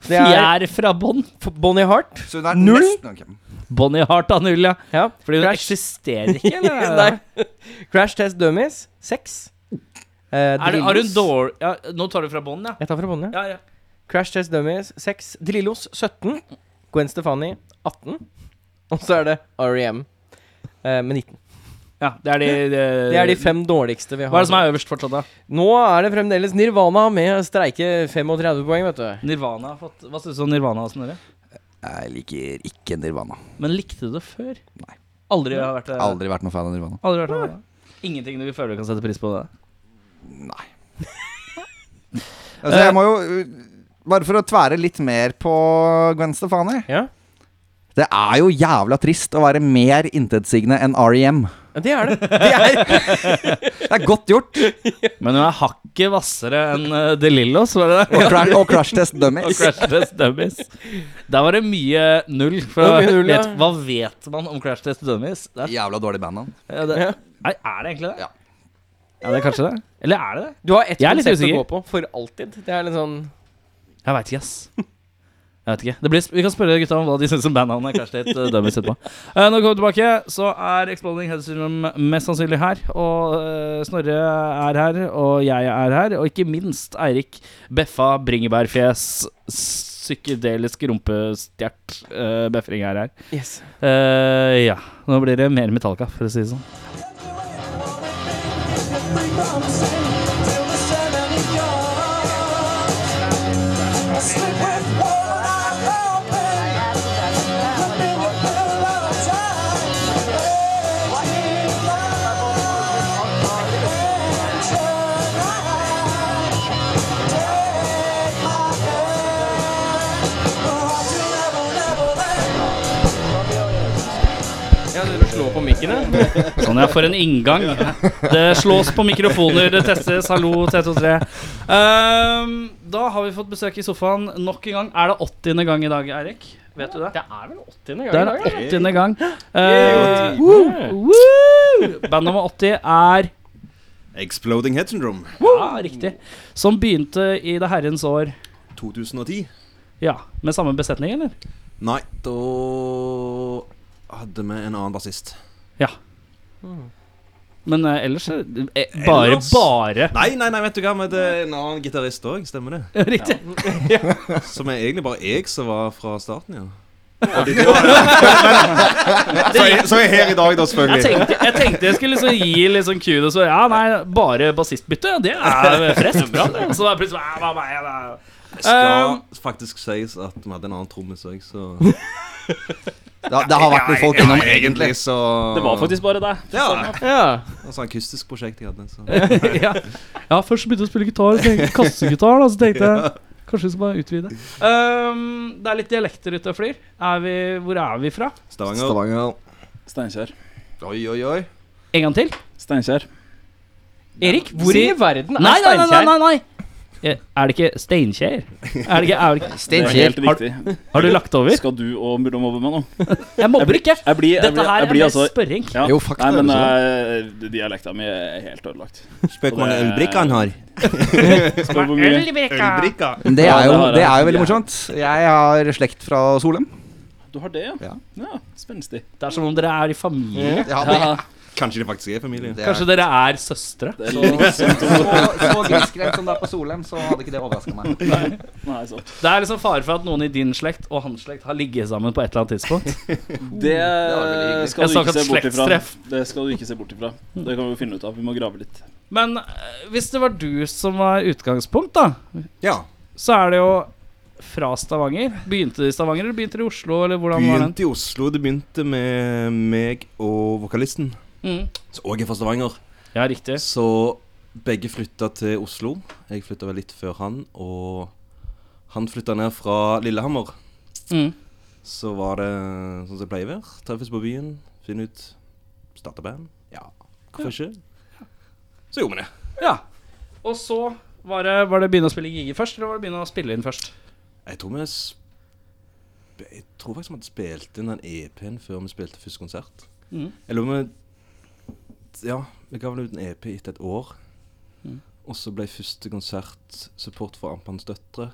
Det er-
Fjær fra bånn.
F- Bonnie Hart.
Så hun er
Null.
nesten ok.
Bonnie Hart av null, ja. (laughs)
Ja.
Fordi hun
Crash.
eksisterer
(laughs)
ikke. eller?
Nei. Crash Test Dummies. Seks. Eh,
Er det, har hun
Drillos.
dårlig ja, Nå tar du fra bånn, ja.
Jeg tar fra båndet.
Ja, ja.
Crash Test Dummies. Seks. Drillos. 17. Gwen Stefani. 18. Og så er det REM eh, med 19.
ja det, er de, de,
Det er de fem dårligste vi har.
Hva er det som er øverst fortsatt, da?
Nå er det fremdeles Nirvana med streike 35 poeng, vet du.
Nirvana har fått Hva syns du om Nirvana, Snorre?
Jeg liker ikke Nirvana.
Men likte du det før?
Nei.
Aldri har vært det?
Aldri vært noen fan av Nirvana.
Aldri vært det? Ingenting du føler du kan sette pris på? det
Nei. altså, jeg må jo uh, Bare for å tvære litt mer på Gwen Stefani.
Ja.
Det er jo jævla trist å være mer intetsigende enn REM.
Ja, Det er det. Det
(laughs)
er,
Det er godt gjort.
Men hun er hakket hvassere enn eh, De Lillos, var det det?
Og, cra (laughs) og Crash Test
Og
Dummies.
Crash Test Dummies. Der var det mye null. For
Det var mye null, ja.
vet, hva vet man om Crash Test Dummies? Det er,
Jævla dårlig band, han.
ja, det, nei, er det egentlig det?
Ja.
Ja, det er kanskje det. Eller er det det?
du har ett
Jeg er litt
konsept å
usikker.
gå på for alltid. Det er litt sånn
Jeg veit ikke, ass. Jeg vet ikke. Det blir, sp- vi kan spørre gutta om hva de syns om bandnavnet. Kanskje det er et dummies etterpå. Eh, når vi kommer tilbake, så er Exploding Head Syndrome mest sannsynlig her. Og eh, Snorre er her, og jeg er her. Og ikke minst Eirik Beffa Bringebærfjes psykedelisk rumpestjert eh, befring er her.
Yes.
Eh, ja. Nå blir det mer Metallica, for å si det sånn.
Sleep with one eye open, up in your pillow time. Ja, dere slår på mikken, ja.
Sånn, jeg får en inngang. Det slås på mikrofoner, det testes. Hallo, T23. Ehm, da har vi fått besøk i sofaen nok en gang. Er det åttiende gang i dag, Eirik? Vet du det?
Det er vel 80. gang
Det
i
er
dag,
det åttiende gang.
ja.
Uh, band nummer 80 er
Exploding Head Syndrome
Ja, riktig. Som begynte i det herrens år.
2010.
Ja, Med samme besetning, eller?
Nei, da hadde vi en annen bassist.
Ja. Men eh, ellers eh, eh, bare
Ellers?
bare
Nei, nei, nei, vet du hva, men det er en annen gitarist òg, stemmer det?
Riktig. (laughs)
Som er egentlig bare jeg som var fra starten, (laughs) ja.
Det,
Så jeg er her i dag, da,
jeg,
selvfølgelig.
tenkte, jeg tenkte jeg skulle liksom gi litt sånn kudos. Og ja, nei, bare bassistbytte. Det er frest. Bra, det. Så da plutselig ja, hva meg, da.
Det skal
Um,
faktisk sies at vi hadde en annen trommis òg, så
Det, det har vært noen folk innom, egentlig.
så
Det var faktisk bare deg.
Ja.
Ja.
Altså akustisk prosjekt jeg hadde. Så.
(laughs) ja. ja, først så begynte jeg å spille gitar. tenkte- Kassegitar, da. Så tenkte jeg kanskje vi skal bare utvide. Ehm, det er litt dialekter ute og flyr. Er vi, hvor er vi fra?
Stavanger.
Steinkjer.
Oi, oi, oi.
En gang til?
Steinkjer.
Erik, hvor i verden er
Nei, nei, nei! nei,
Steinkjer?
nei, nei. Eh, Er det ikke Steinkjer? Er det ikke, er det ikke,
Det er
Steinkjer.
helt riktig.
har du lagt over?
Skal du og Mulla mobbe meg nå?
Jeg mobber ikke.
Jeg blir, jeg
Dette
blir,
her
jeg
er
blir
mer
altså
spørring.
ja.
Jo, fuck,
Nei,
det er
men
det
eh, dialekta mi er helt ødelagt.
Spør hvor mange ølbrikker han har.
Spør hvor mye
Ølbrikker?
Men Det
Ja,
er
det
jo,
har jeg.
det er jo veldig morsomt. Jeg har slekt fra Solheim.
Du har det, ja?
Ja.
ja Spenstig.
Det er som om dere er i familie.
Ja, det,
Ja,
Kanskje det faktisk er familie.
det er.
Kanskje dere er søstre?
det er litt sånn
Så, så grisgrendt som det er på Solheim, så hadde ikke det overraska meg.
Nei, sant.
Det er liksom fare for at noen i din slekt og hans slekt har ligget sammen på et eller annet
(laughs)
tidspunkt.
Det
veldig
hyggelig. Jeg
skal du ikke se
snakker
bort ifra.
slektstreff.
Det skal du ikke se bort ifra. Det kan vi finne ut av. Vi må grave litt.
Men eh, hvis det var du som var utgangspunkt, da,
Ja.
så er det jo fra Stavanger. Begynte det i Stavanger, eller begynte det i Oslo, eller hvordan var den?
Begynte i Oslo. Det begynte med meg og vokalisten,
Mm.
som òg er fra Stavanger.
Ja, riktig.
Så begge flytta til Oslo. Jeg flytta vel litt før han, og han flytta ned fra Lillehammer.
Mm.
Så var det sånn som det pleier å være. Treffes på byen, finne ut Starte band. Ja, hvorfor ikke? Så gjorde vi det.
Ja. Og så var det, var det begynne å spille giger først, eller var det begynne å spille inn først?
Jeg tror vi sp Jeg tror faktisk vi hadde spilt inn den EP-en før vi spilte første konsert.
Mhm.
Eller om vi Ja, vi ga vel ut en EP etter et år. Og så ble første konsert support for Ampans døtre.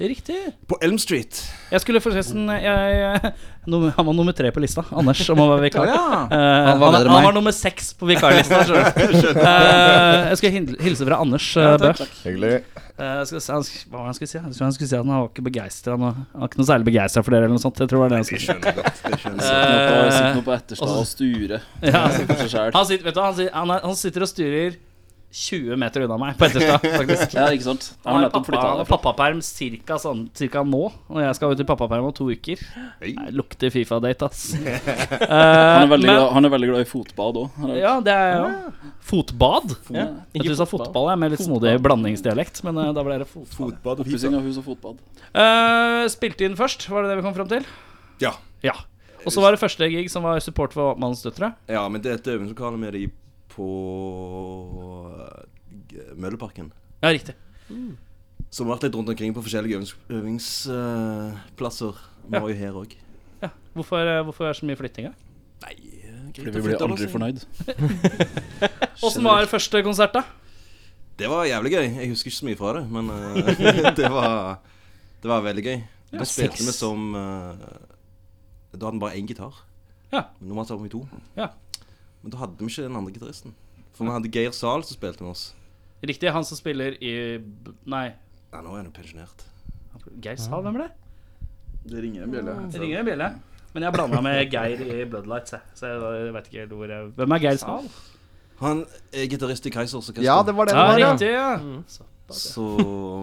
Riktig.
På Elm Street.
Jeg skulle forresten jeg, nummer- Han var nummer tre på lista. Anders, om å være vikar. Eh,
Ja. Han
han,
var bedre enn
han
meg.
var nummer seks på vikarlista. skjønner du. Eh, jeg skal hin- hilse fra Anders eh, Bø.
Hyggelig.
Eh, skal, se- han, sk- hva var det han skulle si? Han skulle, han skulle si at han var ikke begeistra. Han var han var ikke noe særlig begeistra for dere, eller noe sånt. Jeg tror det var det han skulle si.
Skjønner godt. Det skjønner jeg.
Sitt nå på, sitt nå
Eh,
på etterstad og sture.
(laughs) ja.
For seg selv.
han, sitter, vet du, hva, han, sitter, han, er, han sitter og styrer 20 meter unna meg på Etterstad, faktisk.
Ja, ikke sant? Jeg
Han
har
har
nettopp
pappa,
flytta
han har
derfra.
pappaperm cirka, sånn, cirka nå, og jeg skal ut i pappaperm om to uker. Nei, lukter Fifa-date, (laughs) ass. Eh, Uh,
Han er veldig, glad, han er veldig glad i fotbad òg.
Ah, Ja, det er jo Fotbad? Ja. Jeg
Ikke
tror du sa fotball jeg, med litt snodig blandingsdialekt, men eh, da ble det fotbad.
Fotbad og
Oppussing av hus og fotbad.
Eh, spilte inn først, var det det vi kom fram til?
Ja.
Ja. Og så var det første gig som var support for Mannens døtre.
ja, men det er et øvingslokale med de på eh, Mølleparken.
Ja, riktig.
Som har vært litt rundt omkring på forskjellige øvingsplasser. Vi var jo her òg.
Ja. Hvorfor, eh, hvorfor er det så mye flytting? da?
Nei eh,
Fordi vi blir aldri fornøyd.
Åssen var første konsert, da?
Det var jævlig gøy. Jeg husker ikke så mye fra det, men eh, (laughs) det, var, det var veldig gøy. Da spilte vi som eh, Da hadde vi bare én gitar.
Ja.
Men Normalt hadde vi to.
Ja.
Men da hadde vi ikke den andre gitaristen. For vi hadde Geir Zahl som spilte med oss.
Riktig, han som spiller i b- Nei,
Nei, nå er han jo pensjonert.
Geir Sahl, hvem er det?
Det ringer en bjelle.
Det ringer en bjelle. Men jeg blanda med Geir i Bloodlights, jeg. så jeg vet ikke helt hvor jeg Hvem er Geir Sahl?
Han er gitarist i Keisers orkester.
Ja, det var det det
Ja,
var, ja.
riktig, ja.
Så,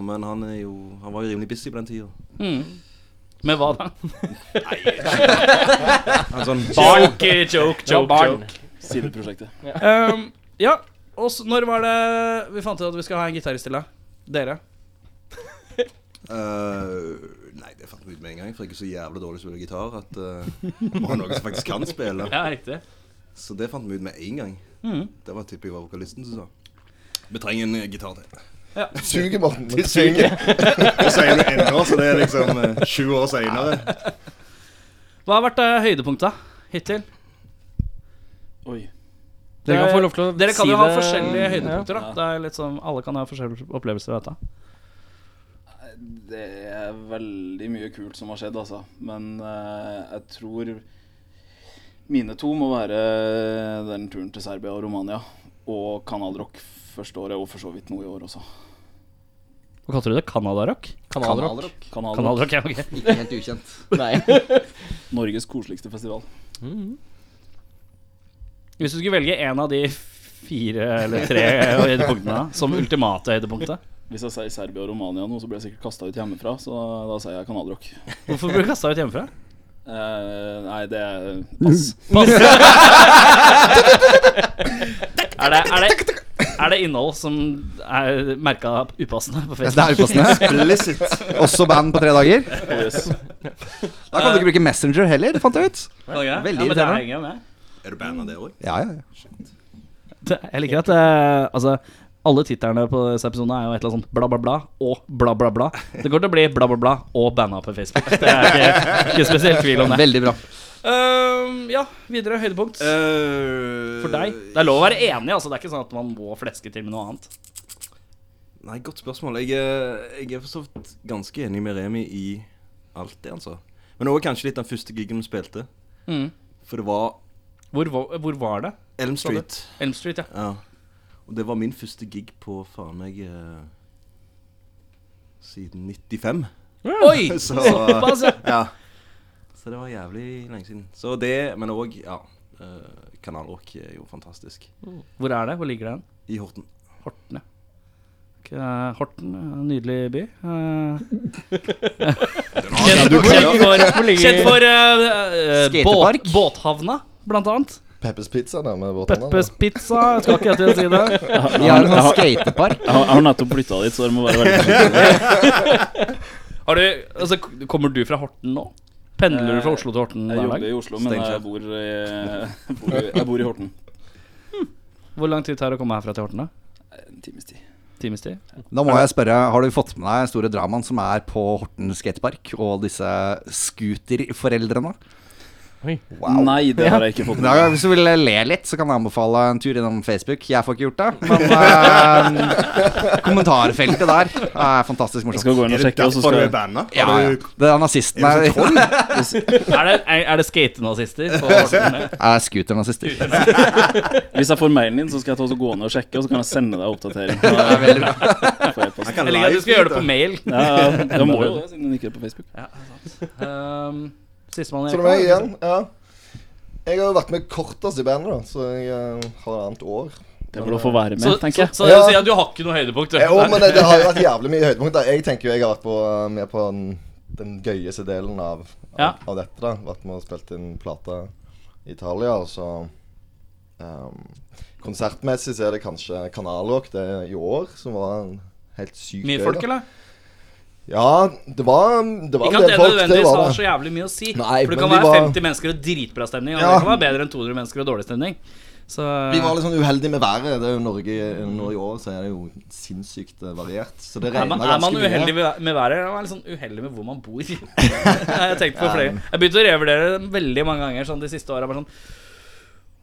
men han er jo Han var jo rimelig busy på den tida.
Mm. Med hva da?
Han er sånn
Joke, joke, joke. joke.
Sideprosjektet.
Ehm, ja, og så, når var det vi fant ut at vi skal ha en gitarist til deg? Dere?
Eh, nei, det fant vi ut med en gang, for jeg er så jævlig dårlig til å spille gitar at eh, må ha noen som faktisk kan spille.
Ja, riktig.
Så det fant vi ut med en gang.
Mm.
Det var typen jeg var vokalisten som sa. Vi trenger en eh, gitar til.
Suger, Morten.
Det (laughs) suger. Det sier du ennå, så det er liksom eh, sju år seinere.
Hva har vært eh, høydepunkta hittil? Eh,
Oi.
Dere kan få lov til å
Dere kan
si
jo ha
det-
forskjellige høydepunkter. Da. Det er litt sånn, alle kan ha forskjellige opplevelser av dette.
Det er veldig mye kult som har skjedd, altså. Men eh, jeg tror mine to må være den turen til Serbia og Romania. Og Kanal Rock første året, og for så vidt noe i år også.
Hva kalte du det? Canada-rock?
Kanalrock.
Kanal Rock,
Canada-rock, ja, ok.
Ikke helt ukjent.
Nei.
Norges koseligste festival.
Hvis du skulle velge en av de fire eller tre høydepunktene som ultimate høydepunktet,
Hvis jeg sier Serbia og Romania nå, så blir jeg sikkert kasta ut hjemmefra, så da, da sier jeg Kanal Rock.
hvorfor ble du kasta ut hjemmefra?
Eh, nei, det er pass.
Er det, er det, er det innhold som er merka upassende på
Det
Facebook?
er upassende.
Explicit.
Også band på tre dager.
Oh, yes.
Da kan du ikke bruke Messenger heller, fant jeg ut.
Kan jeg?
Veldig
ja, men det
irriterende.
henger jeg med.
Er du band av det òg?
Ja, ja, ja.
Det- Jeg liker at eh, altså, alle titlene på disse episodene er jo et eller annet sånt bla, bla, bla og bla, bla, bla. Det går til å bli bla, bla, bla og banna på Facebook. Det er ikke, ikke spesielt tvil om det.
Veldig bra.
Ehm, ja, videre høydepunkt. Eh, For deg.
Eh,
Det er lov å være enig, altså. Det er ikke sånn at man må fleske til med noe annet.
Nei, godt spørsmål. Jeg, eh, jeg er for så vidt ganske enig med Remi i alt det han sa. Men òg kanskje litt den første gigen vi spilte.
Mhm.
For det var
Hvor, var- hvor var det?
Elm
Sa du?
Street.
Elm Street, ja.
Ja. Og det var min første gig på faen meg eh, siden 95.
Oi!
(laughs)
Så,
(laughs) Såpass, ja.
ja. (laughs) Så det var jævlig lenge siden. Så det, men òg, ja. eh, Kanal Rock er jo fantastisk.
Hvor er det? Hvor ligger det hen?
I Horten.
Horten, ja. Ok, eh, Horten, eh, en nydelig by. (laughs) Eh, kjent, kjent for, kjent for eh, eh,
Skatepark.
båt, båthavna, blant annet.
Peppers Pizza der med våtene.
Peppes Pizza. Jeg skal ikke helt til å si det.
Vi har en sånn skatepark.
Jeg har, jeg har nettopp flytta dit, så det må være veldig fint.
(laughs) Har du, altså, k- kommer du fra Horten nå? Pendler du fra Oslo til Horten
Jeg
Eh,
hver
jobber
dag?
i Oslo, men jeg bor i, (laughs) jeg bor i, jeg bor i Horten.
Hvor lang tid tar det å komme herfra til Horten? da?
En times tid.
Times tid?
Da må jeg spørre, har du fått med deg den store dramaen som er på Horten skatepark, og disse scooterforeldrene?
Oi.
Wow.
Nei, det har jeg ikke fått
Da,
med meg.
hvis du vil le litt, så kan jeg anbefale en tur innom Facebook. Jeg får ikke gjort det,
(laughs)
men eh, kommentarfeltet der er fantastisk
Jeg
morsomt.
skal gå inn og sjekke, og så skal jeg
banda?
Ja, ja. Det er nazisten
Er du
(laughs) her.
Er det, er, er det skatenazister
(laughs)
på Horten?
Er scooternazister.
Hvis jeg får mailen din, så skal jeg ta og så gå ned og sjekke, og så kan jeg sende deg oppdatering. Da får jeg post.
Jeg liker at du skal gjøre det på mail.
Ja, ja, jeg må jo det, siden den ikke er på Facebook.
Um, Sistemann,
Så det er meg igjen. Ja. Jeg har jo vært med kortest i bandet, da, så jeg eh, har et annet år.
Det må du få være
Så,
med,
så,
tenker jeg.
så det vil si at du har ikke noe høydepunkt? du.
Jo, men det, det har jo vært jævlig mye høydepunkter. Jeg tenker jo jeg har vært på, eh, med på den, den gøyeste delen av, av,
Ja.
av dette. da Vært med og spilt inn plate i Italia. Og så ehm, Konsertmessig så er det kanskje Kanalrock det er i år, som var en helt sykt
Mye
gøy,
folk,
da.
eller?
Ja, det var, det var
Ikke
en
at
del
det
folk. Det
nødvendigvis
var
har
det.
så jævlig mye å si.
Nei,
for det
men
kan
vi
være
var-
50 mennesker og dritbra stemning. Og
Ja.
det kan være bedre enn 200 mennesker og dårlig stemning. Så
Vi var litt sånn uheldige med været. Det er jo Norge nå i år, så er det jo sinnssykt eh, variert. Så det
er man,
regner
er
ganske
man
mye.
uheldig med med været, eller er man litt sånn uheldig med hvor man bor? (laughs) jeg har tenkt på flere Jeg begynte å revurdere det veldig mange ganger sånn de siste åra. Sånn,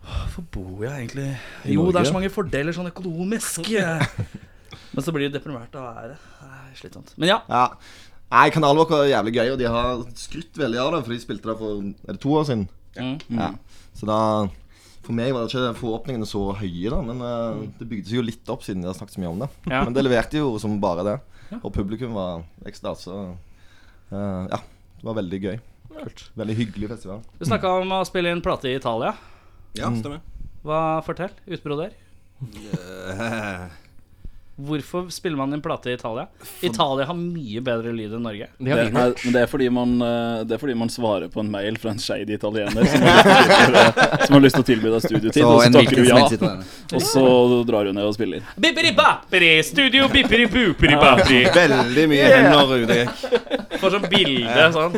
Hvorfor bor jeg egentlig Jo, det er
Norge?
så mange fordeler sånn
(laughs)
økonomisk. Men så blir du deprimert av været. Nei, Slitsomt. Men ja,
Ja. Nei, Kanalvåg er jævlig gøy, og de har skrytt veldig av det, for de spilte det for er det to år siden.
Mm.
Ja. Så da For meg var det ikke forhåpningene så høye, da, men eh, det bygde seg jo litt opp siden de har snakket så mye om det.
Mm. Ja.
Men det leverte jo som bare det. Og publikum var ekstase. og, eh, ja. Det var veldig gøy.
kult.
Veldig hyggelig festival.
Du snakka om å spille inn plate i Italia.
Mm. Ja, stemmer.
(laughs) Hva Fortell. Utbroder.
Eh,
Hvorfor spiller man en plate i Italia? Italia har mye bedre lyd enn Norge.
Det
Det,
har vi
nei,
gjort.
men det er, fordi man, eh, det er fordi man svarer på en mail fra en skeid italiener som har lyst til å tilby- som har lyst til å tilby deg studietid,
Så
og så
en
takker
hvilken
du
som
ja.
helst italiener.
Og så drar hun ned og spiller.
Bipperi-bapperi, studio bipperi-booperi-bapperi.
Veldig mye hender ute. jeg.
Får sånn bilde sånn.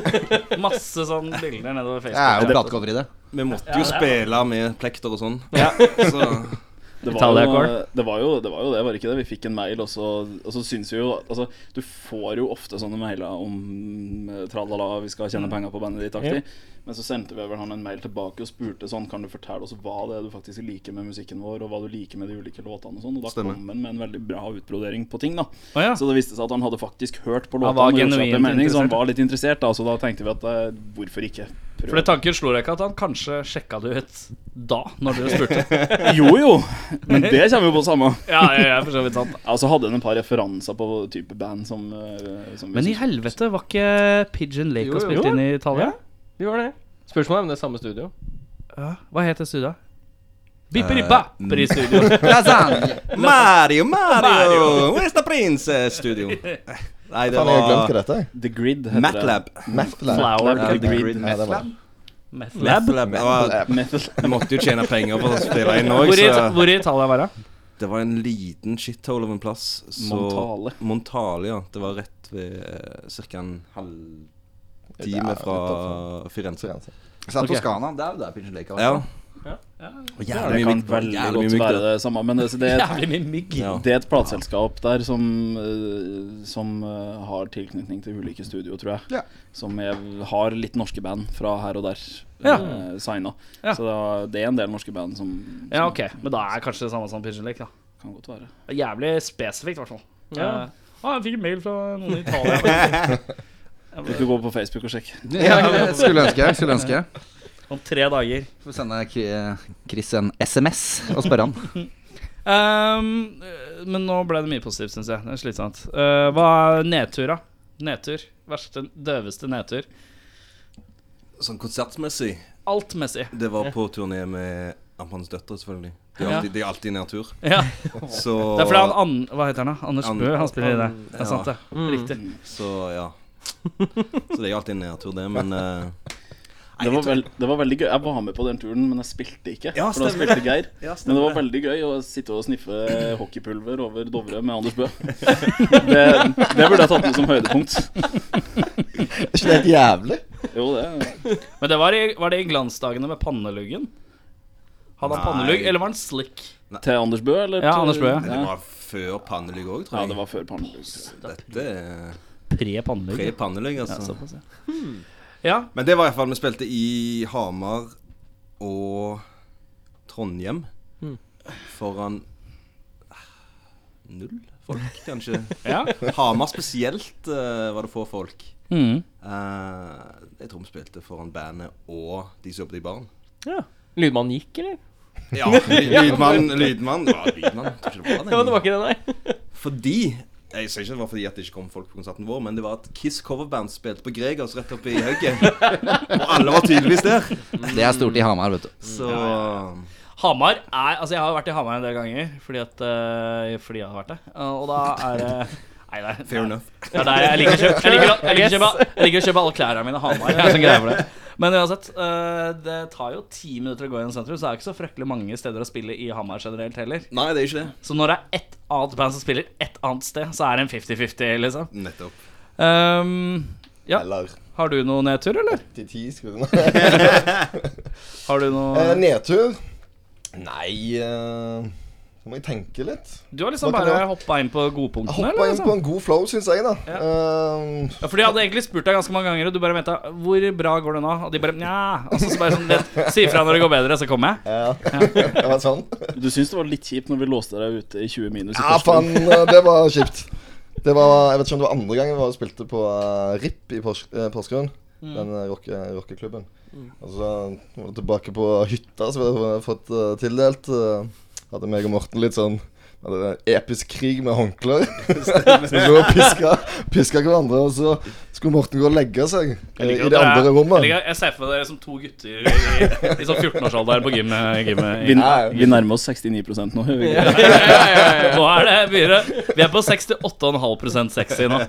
Masse sånn bilder nedover
Det er jo
Facebook.
platecover i det.
Vi måtte jo spille med plekter og sånn. (laughs) Så
Det var,
Italia
jo,
Call.
det, var jo, det var jo det, var det ikke det? Vi fikk en mail, og så, og så syns vi jo altså, Du får jo ofte sånne mailer om eh, tralala, vi skal
Mm.
tjene penger på bandet ditt, aktig. Men så sendte vi vel han en mail tilbake og spurte sånn Kan du fortelle oss hva det er du faktisk liker med musikken vår, og hva du liker med de ulike låtene og sånn. Og da
Stemmer.
kom han med en veldig bra utbrodering på ting, da.
Å ja.
Så det viste seg at han hadde faktisk hørt på
Han
låtene,
var
og gjort seg opp
genuint
en mening, så han
interessert.
var litt interessert, da. Så da tenkte vi at eh, hvorfor ikke? prøve?
For det tanken slo deg ikke at han kanskje sjekka det ut da, når dere spurte?
Jo jo, men det kommer jo på samme.
(laughs) Ja, ja, ja, for så vidt sant.
Ja, og så hadde hun et par referanser på type band som, eh, som vi
Men i
syntes-
helvete, var ikke Pigeon Lake og
Jo, jo.
spilt inn i Italia?
Vi gjorde det. Spørsmålet er om det er samme studio.
Ja. Hva het det studioet? Eh, (laughs) Bipperi-bapperi-studio.
Lasagne!
Mario, Mario! Where's the princess?
(laughs)
Studio. Nei, det
Faen, jeg har glemt
var
hva dette er.
The Grid heter
Matlab.
Mathlab.
Flower
Ja,
The
The
Cut.
Grid.
Grid.
Ja, det var det.
Mathlab. Ja,
det. Metal.
Vi måtte jo tjene penger for å spille inn òg,
Hvor, i,
så
hvor i Italia var det?
Det var en liten shithole av en plass. Så
Montale.
Montale, ja. Det var rett ved ca. en halvtime
Ja,
fra Firenze.
Firenze.
Sa Toskana. Det er jo der Pigeon Lake
Ja.
er.
Og
Det
Jævlig mye
kan
mygg.
veldig
Jævlig
godt
mye mygg.
være
der.
det samme, men det, det, er-
Jævlig mye mygg.
Ja.
det er et plateselskap der som, eh, som eh, har tilknytning til ulike studio, tror jeg.
Ja.
Som er, har litt norske band fra her og der
Ja.
eh, signa.
Ja.
Så det, er- det er en del norske band som,
Ja, ok. Men da er kanskje det samme som Pigeon Lake, da.
som kan godt være.
Det er Jævlig spesifikt, i hvert fall. Ja. Ah,
Ja.
jeg fikk en mail fra noen i Italia
Du kan gå på Facebook og sjekke.
Ja, jeg skulle ønske. Skulle ønske.
(laughs) om tre dager.
Får sende Kri- Chris en SMS og spørre han.
Ehm, men nå ble det mye positivt, syns jeg. Det er slitsomt. Eh, hva er nedtur, da? Nedtur. Verste, døveste nedtur.
Sånn konsertmessig
Altmessig.
Det var på turné med Ampans døtre, selvfølgelig. De er
Ja.
alltid, de er alltid i nedtur.
(laughs) Ja.
Så
Det er fordi han an, Hva heter han, da? Anders
An-
Bø? Han spiller i det. Det
Ja.
er sant, det. Riktig.
Så ja. Så det er jo alltid en nedtur, det, men
(laughs)
eh,
Det var, vel, det var veldig gøy. Jeg var med på den turen, men jeg spilte ikke.
Ja,
for da
stemmer
spilte Geir.
Ja,
Men det
stemmer
var veldig gøy å sitte og sniffe hockeypulver over Dovre med Anders Bø. Det, det burde jeg tatt med som høydepunkt.
Er ikke det helt jævlig?
Jo, det
Men det var, i, var det i glansdagene med panneluggen? Hadde han
Nei.
pannelugg, eller var han slick?
Til Anders Bø, eller?
Ja,
til-
Anders Bø, ja.
Det var før Pannelygg òg, tror
Ja,
jeg.
det var før Pannelus.
Dette er
Pre-pannelugg.
pre-Pannelygg,
ja,
altså.
såpass, ja. ja.
Men det var iallfall Vi spilte i Hamar og Trondheim
Mm.
foran eh, null folk, kanskje.
Ja.
Hamar spesielt eh, var det få folk.
Mm.
Eh, jeg tror vi spilte foran bandet og de som jobbet i
(laughs)
baren.
Lydmannen gikk, eller?
Ja, ly- (laughs) lydmann, lydmann. Det var lydmann. Jeg tror ikke det
Ja,
var
det
det.
var ikke det, nei.
Fordi jeg sier ikke det var fordi at det ikke kom folk på konserten vår, men det var at Kiss coverband spilte på Gregers rett oppe i
(laughs)
hugget. Og alle var tydeligvis der.
Det er stort i Hamar, vet du.
Så
(laughs) Hamar er Altså, jeg har jo vært i Hamar en del ganger fordi at eh, Fordi jeg har vært det. Eh, og da er det Nei, det er-
fair enough.
det er der jeg liker å kjøpe Jeg liker, å- jeg liker, å, kjøpe, jeg liker å kjøpe alle klærne mine i Hamar. Jeg er sånn greie for det. Men uansett, eh, det tar jo ti minutter å gå gjennom sentrum, så det er ikke så fryktelig mange steder å spille i Hamar generelt heller.
Nei, det er ikke det.
Så når det er ett annet band som spiller ett annet sted, så er det en 50-50, liksom.
Nettopp.
Ehm, Ja.
Eller
har du noe nedtur, eller?
10-10, skulle du
Har du
Eh,
noe
Nedtur? Nei eh, Så må jeg tenke litt.
Du har liksom
hva kan
bare
jeg-
hoppa inn på godpunktene,
Hoppa
eller?
inn på
Liksom?
en god flow, syns jeg, da. Eh,
Ja, for de hadde egentlig spurt deg ganske mange ganger, og du bare venta 'Hvor bra går det nå?' Og de bare 'Nja'. Og så, så bare sånn lett 'Si ifra når det går bedre, så kommer jeg'.
ja. det var sånn.
Du syns det var litt kjipt når vi låste deg ute i 20 minus i
Ja,
Porsgrunn?
faen, eh, det var kjipt. Det var, Jeg vet ikke om det var andre gangen vi var og spilte på eh, RIP i Pors eh, Porsgrunn. Den eh, rocke, rockeklubben. Og så var vi tilbake på hytta som vi hadde fått eh, tildelt. eh, hadde meg og Morten litt sånn hadde en episk krig med håndklær. (laughs) Som så piska, piska hverandre, og så skulle Morten gå og legge seg eh, i det andre rommet.
Jeg, jeg ser for meg dere som to gutter i, i sånn 14-årsalder på gymmet. gymmet
Vi,
i,
Ja, ja.
vi nærmer oss 69 nå. gjør vi ikke det?
Nå er det begynner Vi er på 68,5 sexy nå.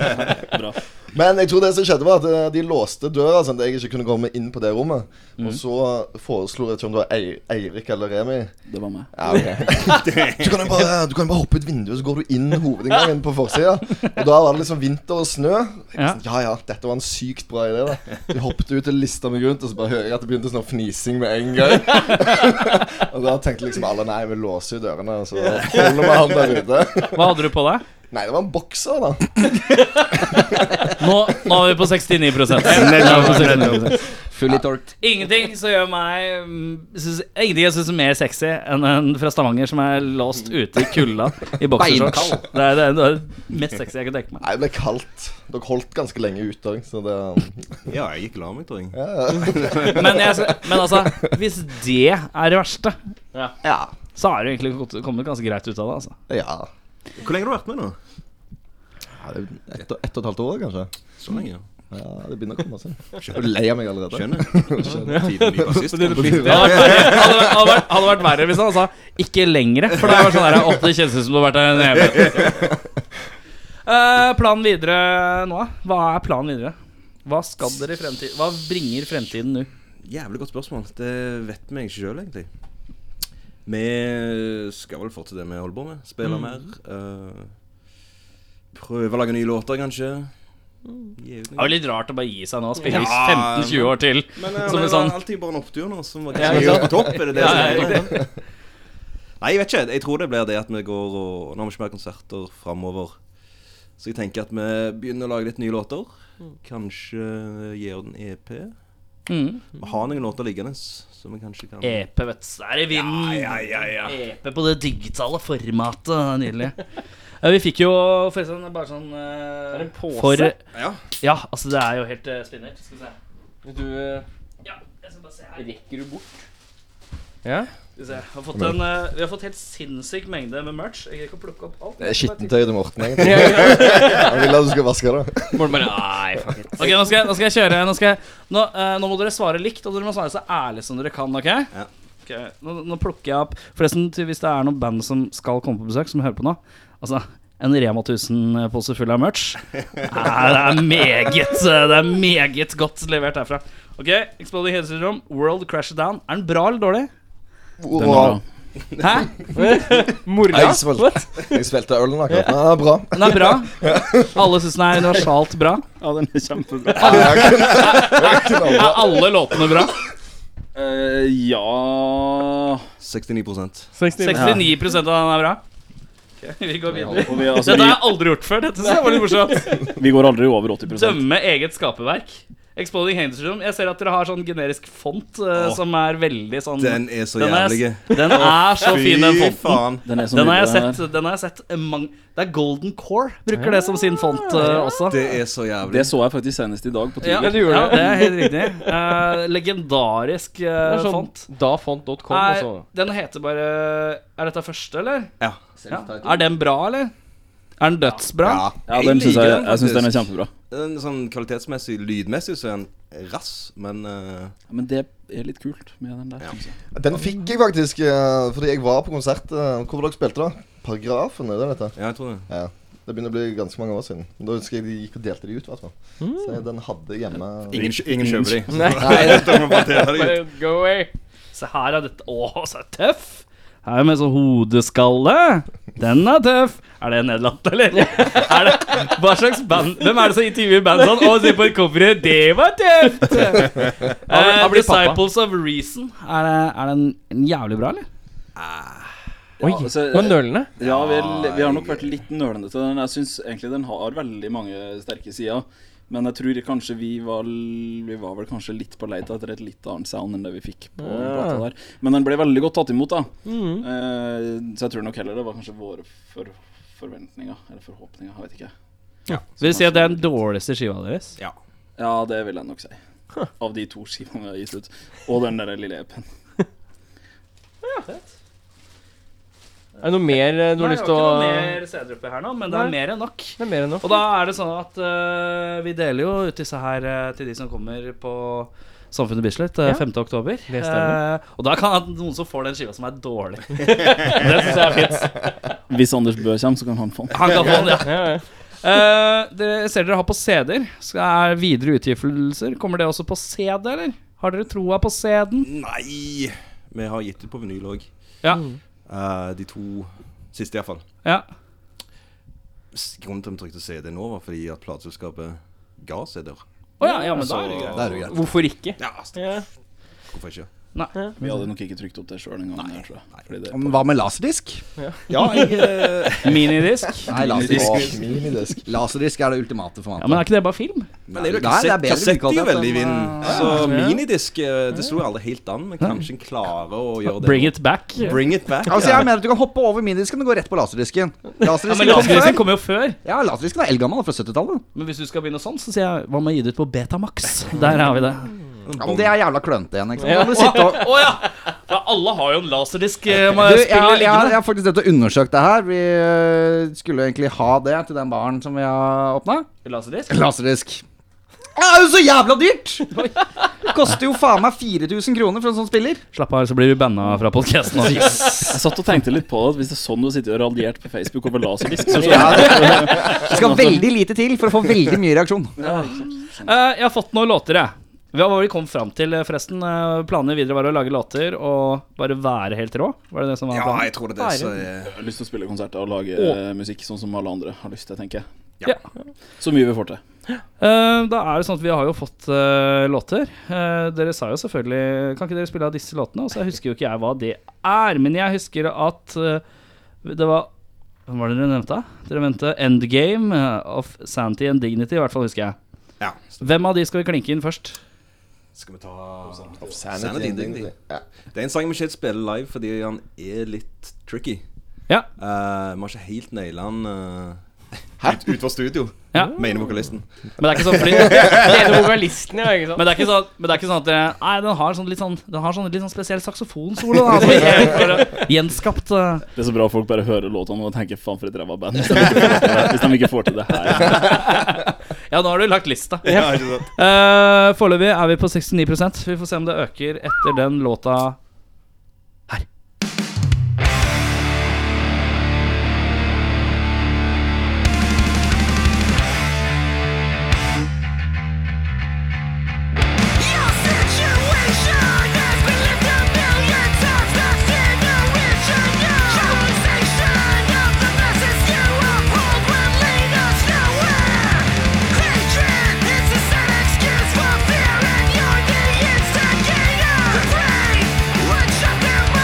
Bra.
Men jeg tror det som skjedde var at eh, de låste døra sånn at jeg ikke kunne komme inn på det rommet. Og så foreslo jeg ikke om det var Ei- Eirik eller Remi.
Det var meg.
(laughs) Ja, ok du, kan jo bare, du kan jo bare hoppe ut vinduet, så går du inn hovedinngangen på forsida. Og da var det liksom vinter og snø. Jeg var sånn, Ja ja, dette var en sykt bra idé. da Jeg hoppet ut og lista meg rundt, og så bare hører jeg at det begynte sånn fnising med en gang. (laughs) og da tenkte liksom alle nei, vi låser jo dørene, og så holder vi han der ute.
Hva hadde du på deg?
Nei, det var en bokser, da.
Nå, nå er vi på 69 Nå er vi på 69%.
Fully torked.
Ingenting som gjør meg mm, synes, Ingenting jeg syns er mer sexy enn en fra Stavanger som er låst ute i kulda i boksershorts.
Beinkald.
Det er det, er noe av det mest sexy jeg kan tenke meg.
Nei, det ble kaldt. Dere holdt ganske lenge ute òg, så det um,
Ja, jeg gikk og la meg, tror jeg.
Men, jeg, men altså, hvis det er det verste,
Ja.
så har du egentlig gått- kommet ganske greit ut av det. altså
ja.
Hvor lenge har du vært med nå?
Ett og, et og et halvt år, kanskje.
Så lenge, ja.
Ja, Det begynner å komme seg. Jeg er lei av meg allerede.
(laughs) Skjønner. Tiden (laughs) ny bassist.
Det hadde vært, verre- hadde, vært- hadde, vært, hadde vært verre hvis han sa 'ikke lengre'. For det er bare sånn der, «Å, det kjennes ut som du har vært der en evighet. (laughs) Eh, planen videre nå, da? Hva er planen videre? Hva skal dere i fremtiden? Hva bringer fremtiden nå?
Jævlig godt spørsmål. Det vet vi ikke sjøl, egentlig. Vi skal vel fortsette det vi holder på med. Spille mer. eh, prøve å lage nye låter, kanskje. Gi ut
Det er
noe.
jo litt rart å bare gi seg nå. Spille i 15-20 år til.
Men eh,
Som
det
en
var
sånn
alltid bare en opptur nå. Som var
Ja,
ganske
ja.
på topp, er det det
Ja,
som
ja,
er greia? (laughs) Nei, jeg vet ikke. Jeg tror det blir det at vi går og Nå har vi ikke mer konserter framover. Så jeg tenker at vi begynner å lage litt nye låter. Kanskje gi ut en EP.
mm, E.
Vi har noen låter liggende som vi kanskje kan
EP, vet du. Det er i vinden. EP på det digitale formatet. Det er Nydelig. Eh, Vi fikk jo forresten bare sånn eh,
Er det en pose?
Ja.
ja, altså det er jo helt uh, spinnert. Skal vi se.
Du, eh,
Ja, jeg skal bare se her.
rekker du bort?
Ja.
Skal vi se. Jeg Har fått en, eh, vi har fått helt sinnssyk mengde med merch. Jeg greier ikke å plukke opp alt.
Det er skittentøy til Morten, egentlig. Han vil at du skal vaske det.
(laughs)
Morten bare Nei, fuck it.
Ok, Nå skal, jeg- nå skal jeg kjøre. Nå, skal jeg, nå, eh, nå må dere svare likt, og dere må svare så ærlig som dere kan. ok?
Ja.
Ok, nå, nå plukker jeg opp Forresten, til hvis det er noen band som skal komme på besøk, som hører på nå Altså, en Rema 1000-pose full av merch. Nei, det er meget eh, Det er meget godt levert herfra. Ok, Exploding Head Syndrome, World Crash Down. Er den bra eller dårlig?
Den var bra.
Hæ?
Mora?
Jeg svelte, jeg svelte ølen akkurat. Nei, det er bra.
Den er bra. (laughs) Alle syns den er universalt bra.
Ja, den er kjempebra.
Er alle låtene bra?
Eh, ja
69
69 av den er bra. vi går videre.
og vi,
Dette
altså,
har
vi,
jeg aldri gjort før. Dette synes jeg var litt
(laughs)
morsomt
vi går aldri over 80
Dømme eget skaperverk. Exploding Hands Room. Jeg ser at dere har sånn generisk font eh,
Åh.
som er veldig sånn
Den er så
Den er-
jævlig.
Den er så fin, den fonten.
faen.
Den er så
Den har jeg
nydelig,
sett. Den har jeg sett mang Det er Golden Core bruker det som sin font eh, også.
Det er så
her.
jævlig.
Det så jeg faktisk senest i dag på
Ja,
Tiger.
du gjorde
ja,
det.
det er helt riktig. Eh, legendarisk eh,
Det er sånn
font.
dafont.com og
Er,
så
den heter bare Er dette første, eller?
Ja.
Ja. Er den bra, eller? Er den dødsbra?
Ja,
Ja, den synes jeg, jeg syns den er
faktisk.
kjempebra.
Den er sånn Kvalitetsmessig, lydmessig, så er den rass, men eh,
Men det er litt kult med den der. synes jeg.
Den fikk jeg faktisk eh, fordi jeg var på konsert eh, hvor dere spilte, da. Paragrafen, er det dette?
Ja, jeg tror det.
Ja. Det begynner å bli ganske mange år siden. Men Da husker jeg de gikk og delte de ut, i hvert fall.
Mm.
Så den hadde hjemme
Ingen, kjø- ingen kjøper de. (laughs)
Nei.
Nei.
Go away.
Se her er dette Å, så er det tøff! Her med sånn hodeskalle. Den er tøff. Er det Nederland, eller? (laughs) Er det, hva slags band Hvem er det som intervjuer band sånn? Å, se på et coveret, det var
(laughs)
tøft!
Han blir-
Eh,
han blir pappa.
Disciples of Reason. Er det, er den en jævlig bra, eller?
Oi,
Ja, altså,
nå nølende.
Ja, vi, vi har nok vært litt nølende til den. Jeg syns egentlig den har veldig mange sterke sider. Men jeg tror kanskje vi var, l- vi var vel kanskje litt på leit etter et litt annet sound enn det vi fikk på den plata der. Men den ble veldig godt tatt imot, da. Eh, så jeg tror nok heller det var kanskje våre for forventninger. Eller forhåpninger, jeg vet ikke.
Vil du si at det er den dårligste skiva deres?
Ja.
Ja, det vil jeg nok si. Av de to skivene vi har gitt E ut. Og den der lille EP-en.
Eh,
Er det noe mer eh, du har
Nei,
lyst
det var
til å
ikke noe mer CD-er oppi her nå, men det
Nei.
er mer enn nok.
Det er mer enn nok.
Og da er det sånn at eh, vi deler jo ut disse her eh, til de som kommer på Samfunnet Bislett eh,
Ja.
5. oktober.
Det stemmer.
Eh, og da kan det være noen som får den skiva som er
(laughs)
dårlig. det syns jeg er fint.
Hvis Anders Bø kommer, så kan han få den.
Han kan få den, ja.
Ja, ja.
Eh, dere ser dere har på CD-er. Skal er videre utgivelser Kommer det også på CD, eller? Har dere troa på CD-en?
Nei! Vi har gitt ut på vinyl òg.
Ja.
Mm. de to siste, iallfall.
ja.
Grunnen til at vi trykte CD nå, var fordi at plateselskapet ga CD-er.
Å ja, ja, men da er det greit.
Da er det greit.
Hvorfor ikke?
Ja,
Ja.
hvorfor ikke?
Vi hadde nok ikke trykt opp det sjøl engang. jeg tror. Fordi det-
Hva med laserdisk?
Ja, jeg eh,
Minidisk. (laughs)
Nei, laserdisk.
Åh, minidisk.
Laserdisk er det
Ja,
ultimate
Men
formatet.
er ikke det bare film?
Men det
Nei, det
er altså, jo
er
kassett,
bedre
kassett er jo
lydkvalitet
veldig i
enn,
vinden.
eh,
Så minidisk eh, Det slo jo aldri helt an, men kanskje en klarer å gjøre det.
Bring it back.
Bring it back.
Altså Jeg mener at du kan hoppe over minidisken og gå rett på laserdisken.
Ja, men
Laserdisken kom før.
Laserdisken kommer jo før.
Ja, laserdisken er eldgammel, fra 70-tallet.
Men hvis du skal begynne sånn, så sier jeg hva med å gi det ut på Betamax? Der har vi det.
Ja, men det er jævla klønete igjen. ikke sant? Da må du sitte og
Å ja! ja! Alle har jo en laserdisk eh,
du,
må
jeg,
jeg spille
jeg, jeg
liggende.
har faktisk drevet og undersøkt det her. Vi øh, skulle jo egentlig ha det til den baren som vi har åpna.
Laserdisk?
Laserdisk. Ja, Det er jo så jævla dyrt! Koster jo faen meg 4000 kroner for en sånn spiller.
Slapp av, så blir du banna fra (laughs) podkasten.
Jeg satt og tenkte litt på det. at Hvis det er sånn du sitter og raljert på Facebook over laserdisk, så
Ja,
skjønner jeg.
det skal veldig lite til for å få veldig mye reaksjon.
Eh, jeg har fått noen låter, jeg. Hva var det vi kom fram til, eh, forresten? Eh, Planene videre var å lage låter og bare være helt rå? Var det det som var
Ja,
planen?
jeg tror det er det som er
Jeg har lyst til å spille konserter og lage eh, musikk sånn som alle andre har lyst til, tenker jeg.
Ja.
Så mye vi får til.
Eh, da er det sånn at vi har jo fått eh, låter. Eh, dere sa jo selvfølgelig Kan ikke dere spille av disse låtene? Og så husker jo ikke jeg hva det er, men jeg husker at eh, det var Hvem var det dere nevnte? Dere nevnte Endgame eh, of Santy and Dignity, i hvert fall husker jeg.
Ja.
Hvem av de skal vi klinke inn først?
Skal vi ta
Sanity,
Sanity,
Dignity.
Dignity.
Ja.
Det er en sang vi ikke helt spiller live fordi han er litt tricky.
Ja.
Eh, vi har ikke helt naila han uh, ut, ut fra studio,
Ja.
mener vokalisten.
Men det er ikke sånn fordi,
Det (laughs) er vokalisten, ja. ikke sant?
Men det er ikke sånn, men det er ikke sånn at dere Nei, den har sånn litt sånn Den har sånn litt sånn spesiell saksofonsolo. da, altså, som ikke er bare Gjenskapt. eh.
Det er så bra folk bare hører låtene og tenker 'faen, for et ræva band'. (laughs) Hvis de ikke får til det- hvis de ikke får til det her.
Ja, nå har du lagt lista.
Ja, ikke sant?
Uh, Foreløpig er vi på 69 Vi får se om det øker etter den låta her.
It's a sad excuse for fear, and you're the instigator. Afraid,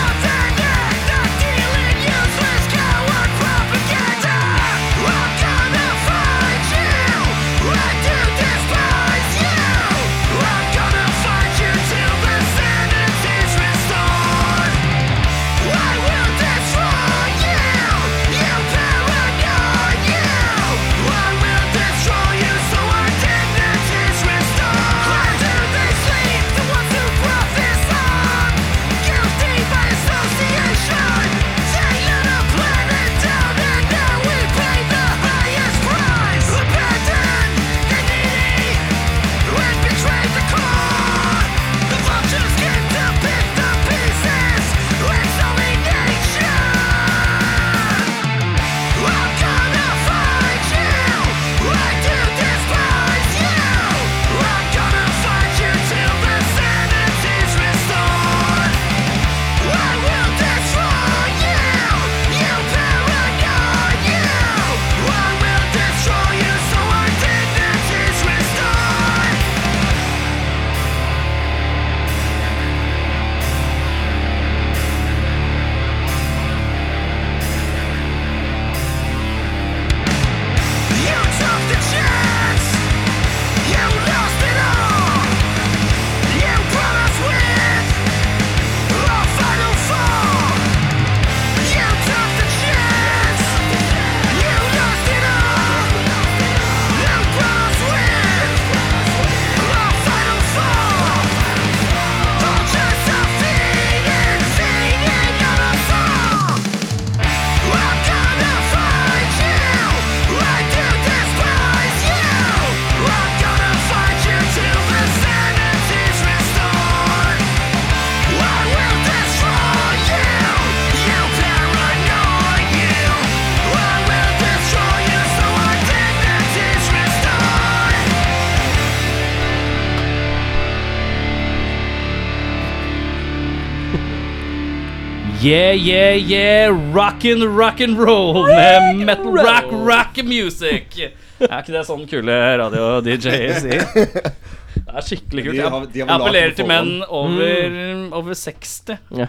Yeah, yeah, yeah, rockin', rockin' roll med metal rock, rock music. Er ikke det sånn kule radio-DJ-er sier? Det er skikkelig kult.
De har-
Jeg,
de har
jeg
vel
appellerer
laget
til
på
menn over, over 60
Ja.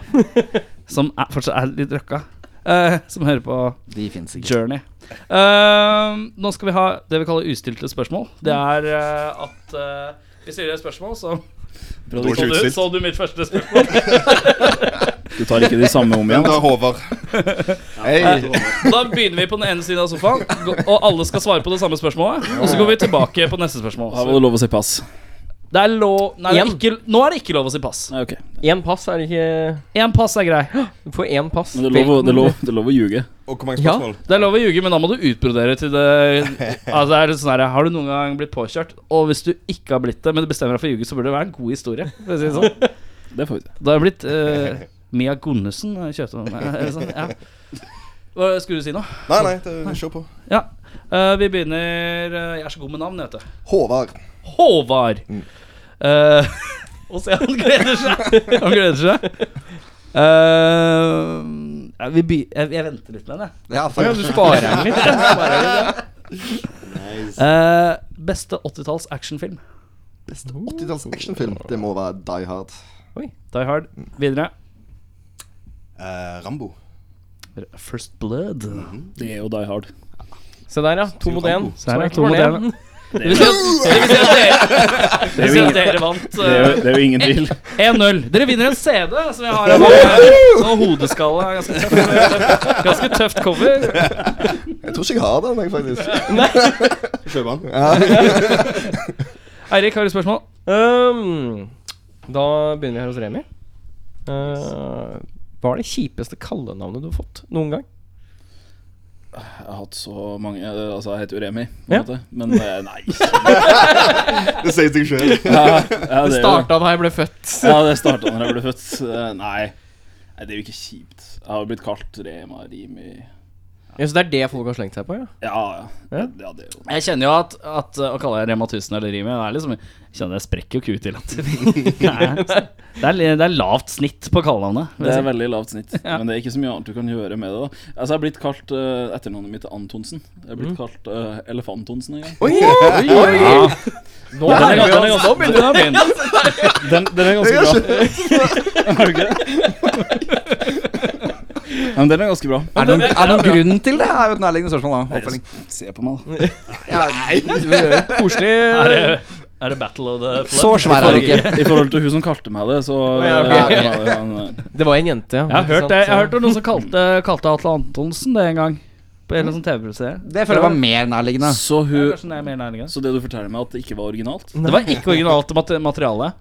som er, fortsatt er litt røkka, eh, som hører på
De fins ikke.
Journey. Ehm, nå skal vi ha det vi kaller ustilte spørsmål. Det er eh, at eh, vi stiller et spørsmål som
Stort
så du,
utstilt.
så du mitt første spørsmål?
Du tar ikke de samme om igjen?
Da, Håvard.
Da begynner vi på den ene siden av sofaen, gå- og alle skal svare på det samme spørsmålet. Og så går vi tilbake på neste spørsmål.
Da var det lov å si pass.
Det er lov Nei, det er
Igjen.
ikke, nå er det ikke lov å si pass.
Nei, ok
Én pass er ikke
Én pass er grei.
Du får én pass.
Men det er lov, å- det er lov, det er lov å ljuge.
Og hvor mange
Ja.
spørsmål?
Det er lov å ljuge, men da må du utbrodere til det Altså det er litt sånn her, Har du noen gang blitt påkjørt? Og hvis du ikke har blitt det, men du bestemmer deg for å ljuge, så burde det være en god historie. For å si det sånn
Det får vi se.
Da har jeg blitt eh, Mia Gunnesen eh, kjøpte meg. eller Sånn, ja. Hva skulle du si nå?
Nei, nei, det, kjør på.
Ja. eh, vi begynner eh, Jeg er så god med navn, vet du.
Håvard.
Håvard. Eh, (laughs) og se, han gleder seg! Han gleder seg. Eh, ja, vi by jeg, jeg venter litt med den, jeg.
Ja, for,
Du sparer den litt. jeg. Sparer den litt, jeg. Eh, beste 80-talls actionfilm.
Beste 80-talls actionfilm. Det må være Die Hard.
Die Hard. Videre.
Eh, Rambo.
First Blood.
Det er jo Die Hard.
Se der, ja. To mot én.
Så her er
Snak
to
for
mot
det.
én. Det vil si at, det vil si at dere, det vil si at (laughs) dere vant.
Det er
eh,
jo, det er jo ingen tvil.
1-0. Dere vinner en CD som jeg har her.
(laughs)
nå. Og hodeskalle. er Ganske tøft, ganske tøft cover.
Jeg tror ikke jeg har den, jeg, faktisk.
Kjøp han.
Eirik, har du spørsmål?
Ehm, da begynner vi her hos Remi. Eh, hva er det kjipeste kallenavnet du har fått noen gang?
Jeg har hatt så mange eh, Altså, jeg heter jo Remi, på en
Ja.
måte. Men eh, nei.
Det sier seg sjøl.
Ja, ja,
Det
det er jo-
starta da jeg ble født.
Ja, det starta når jeg ble født. Eh, Nei. Nei, det er jo ikke kjipt. Jeg har jo blitt kalt Rema, Rimi
Ja, så det er det folk har slengt seg på, ja?
Ja, ja.
Ja.
ja det er jo
Jeg kjenner jo at, at å kalle jeg Rema 1000 eller Rimi det er liksom, Jeg kjenner jeg sprekker jo ku til at det er, li- det er lavt snitt på kallenavnet. vil
Det
jeg
er
si.
veldig lavt snitt,
Ja.
men det er ikke så mye annet du kan gjøre med det. da Altså, Jeg er blitt kalt eh, etternavnet mitt er Antonsen. Jeg er blitt kalt eh, Elefantonsen en gang.
Oi! oi, oi. Nå
Den
er
er
det
ganske- den er ganske- den er begynt.
Den, den er ganske bra. (laughs) Er du ikke det? (laughs) Nei, men den er ganske bra.
er det noen, er det noen grunn til det? Er jo et nærliggende spørsmål. da Oppfølging.
Se på meg, da.
Er
Koselig.
det- Er det Battle of the Flood?
Så svær er du ikke.
I forhold til hun som kalte meg det, så
Ja, ok.
eh, var det en, eh,
Det var en jente.
Jeg har hørt det Jeg har hørt om noen som kalte, kalte Atle Antonsen det en gang. På en eller annen sånn TV-serie.
Det føler jeg var mer nærliggende.
Så
Ja,
hun
kanskje den er mer nærliggende.
Så det du forteller meg, at det ikke var originalt?
Det var ikke originalt mate- materiale.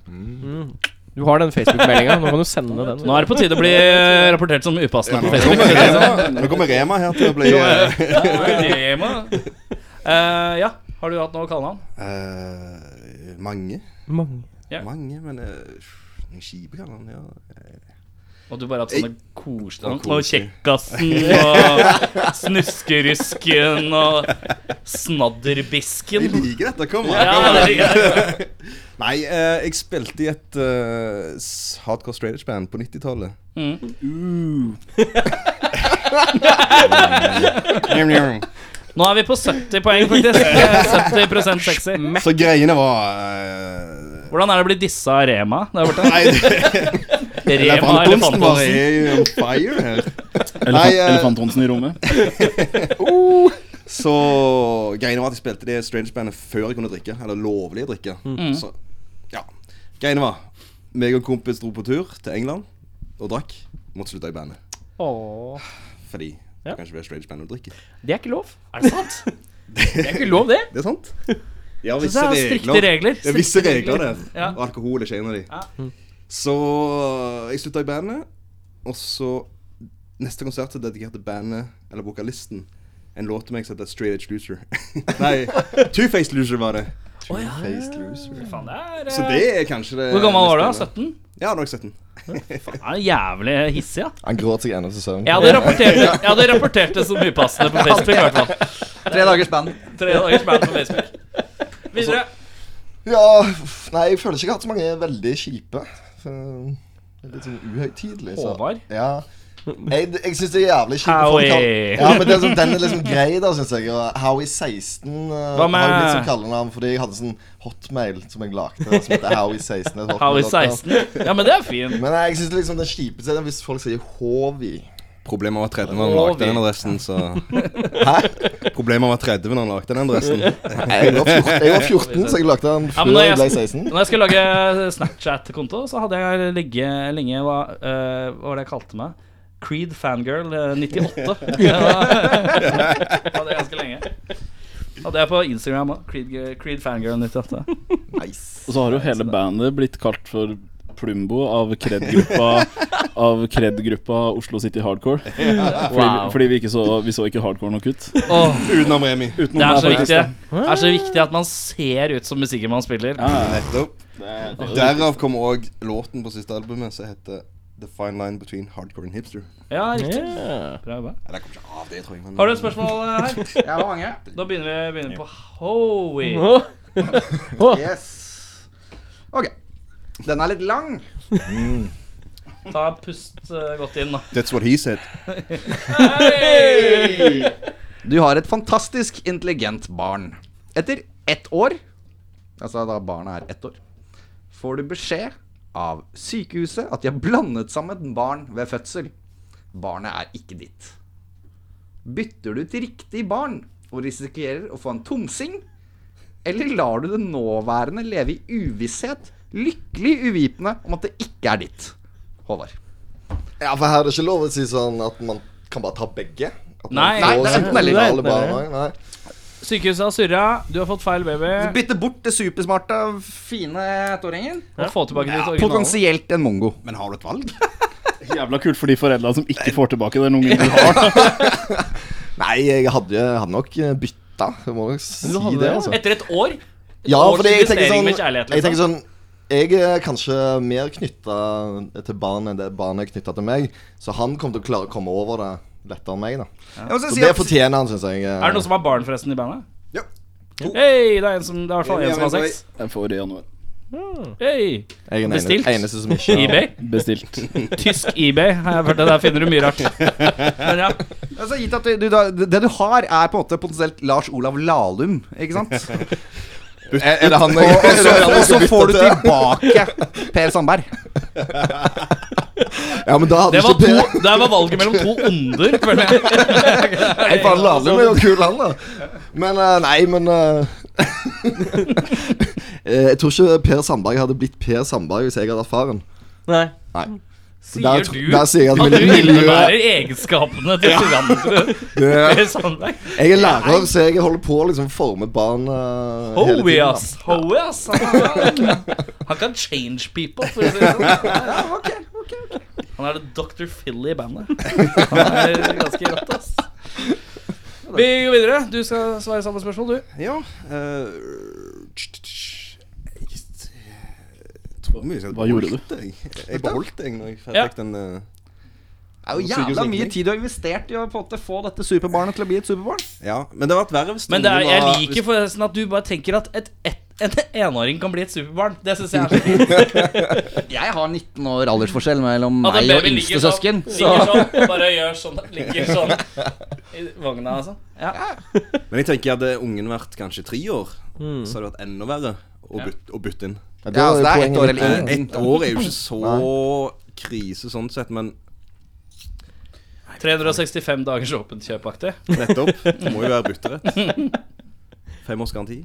Du har den Facebook-meldinga. Nå kan du sende den.
Nå er det på tide å bli eh, rapportert som upassende på
Nå
Facebook.
kommer Rema- nå kommer Rema her til å
(laughs)
bli eh,
Eh, ja, har du hatt noe å kalle han?
eh, Mange.
Mange.
Ja.
Mange, men eh, Skipe kan han, ja.
Og du bare hatt sånne koselige
Og
navn. Og
koselig. (laughs)
Kjekkasen og Snuskerusken og
Jeg
Snadderbisken.
liker dette. Kom an.
Ja,
kom an.
det liker
(laughs) Nei, eh, jeg spilte i et eh, s- hardcore straight edge-band på 90-tallet.
Mm.
Njam, njam.
Nå er vi på 70 poeng,
(laughs)
faktisk. 70 sexy.
Så greiene var
(laughs)
eh,
Hvordan er det å bli dissa av Rema der borte?
Nei, det-
Rema
Elefantonsen var
Elefantonsen.
(laughs) er on fire her.
Elefant,
Nei, eh,
Elefantonsen i rommet?
Så greiene var at jeg spilte det strange-bandet før jeg kunne drikke. Eller lovlig å drikke.
Mm.
Mm.
Så ja. Greiene var meg og en kompis dro på tur til England og drakk. Måtte slutte i bandet.
Åh.
Fordi
Ja.
du kan ikke være strange-band og drikke.
(laughs) Det er ikke lov.
Er det sant?
Det er ikke lov, det.
Det er
(laughs)
sant. De har
Så det er strikte regler.
Det er visse
Strikte
regler der.
Ja.
Og alkohol er ikke en av de.
Ja.
Så jeg slutta i bandet, og så Neste konsert så dedikerte bandet, eller vokalisten, en låt til meg som heter Straight Edge Loser. (laughs) Nei, Two-Faced Loser var det.
Faced loser.
Faen, det er,
Så
eh,
det er kanskje det
Hvor gammel var du? da?
mest spennende.
17?
Ja, da var jeg 17.
Faen, er det jævlig hissig, ja.
Han gråter seg ennå til søvn.
Jeg hadde rapportert det, jeg hadde rapportert det som upassende på Facebook. I hvert fall.
Tre dagers band.
Tre dagers band på Facebook. Videre.
Ja, f- nei, jeg føler ikke jeg har hatt så mange veldig kjipe. Så, Det er litt sånn eh, uhøytidelig. så-
Håvard?
Ja. Jeg, jeg syns det er jævlig kjipt. når folk
Howie.
kaller- Ja, men det er sånn, Den er liksom grei, da, syns jeg. Og Howie 16 eh,
Hva med-
har jo blitt som kallenavn fordi jeg hadde sånn hotmail som jeg lagde, som heter Howie 16. et hotmail.com.
Howie 16. Ja, men det er fin.
Men jeg syns liksom det kjipeste er hvis folk sier Håvi.
(laughs) Problemet var 30 når han lagde den adressen, så (laughs) Hæ? Problemet var 30 når han lagde den adressen.
Jeg var 14, jeg var 14 så jeg lagde den
Ja,
før
men når
jeg ble
jeg,
16.
når jeg skulle lage Snapchat-konto, så hadde jeg ligge lenge hva, eh, hva var det jeg kalte meg? Creed Fangirl eh, 98.
(laughs)
Det var- (laughs) hadde jeg ganske lenge. Hadde jeg på Instagram òg. Creed, Creed Fangirl 98.
Nice.
Og så har jo hele bandet blitt kalt for Plumbo av Kred-gruppa Av Kred-gruppa Oslo City Hardcore. Fordi,
Wow.
fordi vi, ikke så, vi så ikke hardcore nok ut. (laughs)
Åh,
Utenom Remi.
Utenom
det er så
meg,
viktig.
faktisk, da.
Det er så viktig at man ser ut som musikken man spiller.
Ja, ja,
Nettopp.
det er-
Derav kom òg låten på siste albumet som heter The Fine Line Between Hardcore and Hipster.
Ja, riktig.
Yeah.
Bra jobba.
Nei, det kom ikke av det, tror jeg. Men
Har du et spørsmål eh, her?
Jeg har mange.
Da begynner vi begynner på Howie.
Åh,
Yes. Ok. Den er litt lang.
Ta pust eh, godt inn, da.
That's what he said.
Du har et fantastisk intelligent barn. Etter ett år, altså da barnet er ett år, får du beskjed av sykehuset at de har blandet sammen barn ved fødsel. Barnet er ikke ditt. Bytter du til riktig barn og risikerer å få en tomsing? Eller lar du det nåværende leve i uvisshet, lykkelig uvitende om at det ikke er ditt? Håvard.
Ja, for her er det ikke lov å si sånn at man kan bare ta begge. At man
Nei,
får
det er enten eller.
originale barn, Nei.
Sykehuset har surra. Du har fått feil baby.
Bytte bort det supersmarte, fine ettåringen.
Og få tilbake ditt originale.
Potensielt en mongo.
Men har du et valg?
Jævla kult for de foreldra som ikke får tilbake den ungen du har.
Nei, jeg hadde, hadde nok eh, bytta. Jeg må nok si
Du hadde
det,
det,
altså.
Etter et år?
Ja,
års
fordi jeg tenker
investering
sånn
med kjærlighet, liksom.
Jeg tenker sånn jeg er kanskje mer knytta til barn enn det barnet er knytta til meg. Så han kommer til å klare å komme over det lettere enn meg. da
Jeg må så
Så
si
det
at-
fortjener han, syns jeg.
Altså, Er det noen som har barn forresten i bandet?
Ja.
Hei, det er en som, det er i hvert fall en som har sex.
Jeg får i januar.
Hey.
Jeg er den
bestilt?
eneste, eneste som ikke har
eBay?
Bestilt.
Tysk eBay. Har jeg hørt det Der finner du mye rart. Men ja,
Altså, gitt at du, du, da- det du har, er på en måte potensielt Lars Olav Lahlum, ikke (laughs) sant?
Er, er det han jeg,
Og
er det
Eh, (laughs) så,
han jeg
og så
skal bytte
får du
til?
tilbake Per Sandberg.
Ja, men da hadde
det
(laughs)
var,
ikke Per-
to, det var valget mellom to onder, føler jeg.
Nei, faen, Lahlum er jo kul, han, da. altså- Men eh, nei, men eh, (laughs) eh, Jeg tror ikke Per Sandberg hadde blitt Per Sandberg hvis jeg hadde vært faren.
Nei.
Så der
Sier
tr-
du
der
at
sier jeg at
du
miljøet
innebærer egenskapene til tyrannet?
det-
Per Sandberg?
Jeg er lærer, så jeg holder på å liksom forme barn eh, hele
Hoey,
tiden.
ass. Hoey, ass. Han kan change people, for å si det sånn. Ja, ok, ok, ok. Han er det Dr. Philly i bandet. Han er ganske rått, ass. Vi går videre. Du skal svare samme spørsmål, du.
Ja. eh, tsk, tsk, tsk. Jeg tror mye jeg
Hva gjorde du?
beholdt det, Jeg, jeg beholdt det jeg, når jeg
Ja.
fikk den eh,
Det er jo jævla mye tid du har investert i å på en måte få dette superbarnet til å bli et superbarn.
Ja, men det har vært verre hvis
Men det er,
noen
jeg
har-
liker forresten at du bare tenker at et, et, en enåring kan bli et superbarn. Det syns jeg er så fint.
Jeg har 19 år aldersforskjell mellom
At en
meg og
baby
yngste
ligger sånn,
søsken. Så
ligger sånn, og bare gjør sånn, ligger sånn i vogna, altså. Ja.
Men jeg tenker hadde ungen vært kanskje tre år, så hadde det vært enda verre å
Mm. Ja.
bytte, å bytte inn. Eh,
ja,
Ja,
altså, det er
poenget
ett år
mitt.
eller ingenting.
Ett år er jo ikke så krise sånn sett, men
365 dagers åpent kjøp-aktig.
nettopp. Det må jo være bytterett.
(laughs)
Fem års garanti.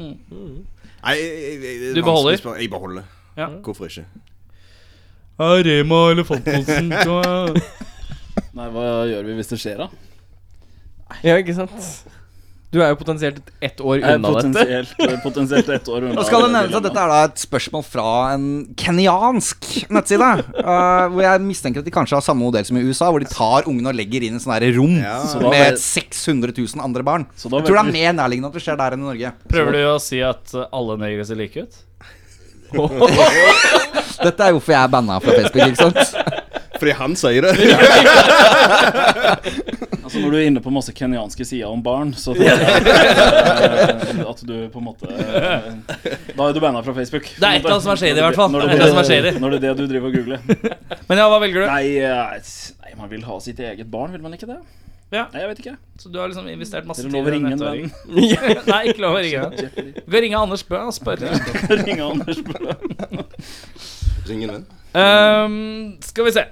Nei, jeg, jeg, jeg, det er
Mm. Du beholder?
vanskelig å spørre. Jeg beholder.
Ja.
Hvorfor ikke?
Rema Elefantposen.
Nei, hva gjør vi hvis det skjer, da?
Ja, ikke sant? Du er jo potensielt ett år
Jeg er
unna dette.
Eh, Potensielt, eh, potensielt ett år unna.
Nå skal det
det
nevnes at
dilemmaet.
dette er da et spørsmål fra en kenyansk nettside. (laughs) eh, hvor jeg mistenker at de kanskje har samme modell som i USA, hvor de tar ungene og legger inn i sånne her rom
Ja.
Så da
med
vet-
600 000 andre barn.
Så da
jeg tror det
vet
er mer nærliggende at det skjer der enn i Norge.
Prøver du å si at eh, alle negere ser like ut?
Dette er hvorfor jeg er banna fra Facebook. ikke sant?
Fordi han
(laughs)
sier det.
Altså Når du er inne på masse kenyanske sider om barn, så tror jeg at, eh, at du på en måte eh, Da er du banna fra Facebook.
Det er et eller annet som er shady i hvert fall.
Når
Det er et eller annet som er
det,
shady.
når det er det du driver og googler.
Men ja, hva velger du?
Nei, eh, nei, jeg Man vil ha sitt eget barn, vil man ikke det?
Ja.
Nei, jeg vet ikke.
Så du har liksom investert masse
Dere
tid
lov å
i den
ringe en
ettåringen.
venn.
(laughs) Nei, ikke lov å ringe en venn. Du kan ringe Anders Bø og spørre.
Ringe
(laughs)
Anders Bø.
Ring en venn.
Ehm, skal vi se.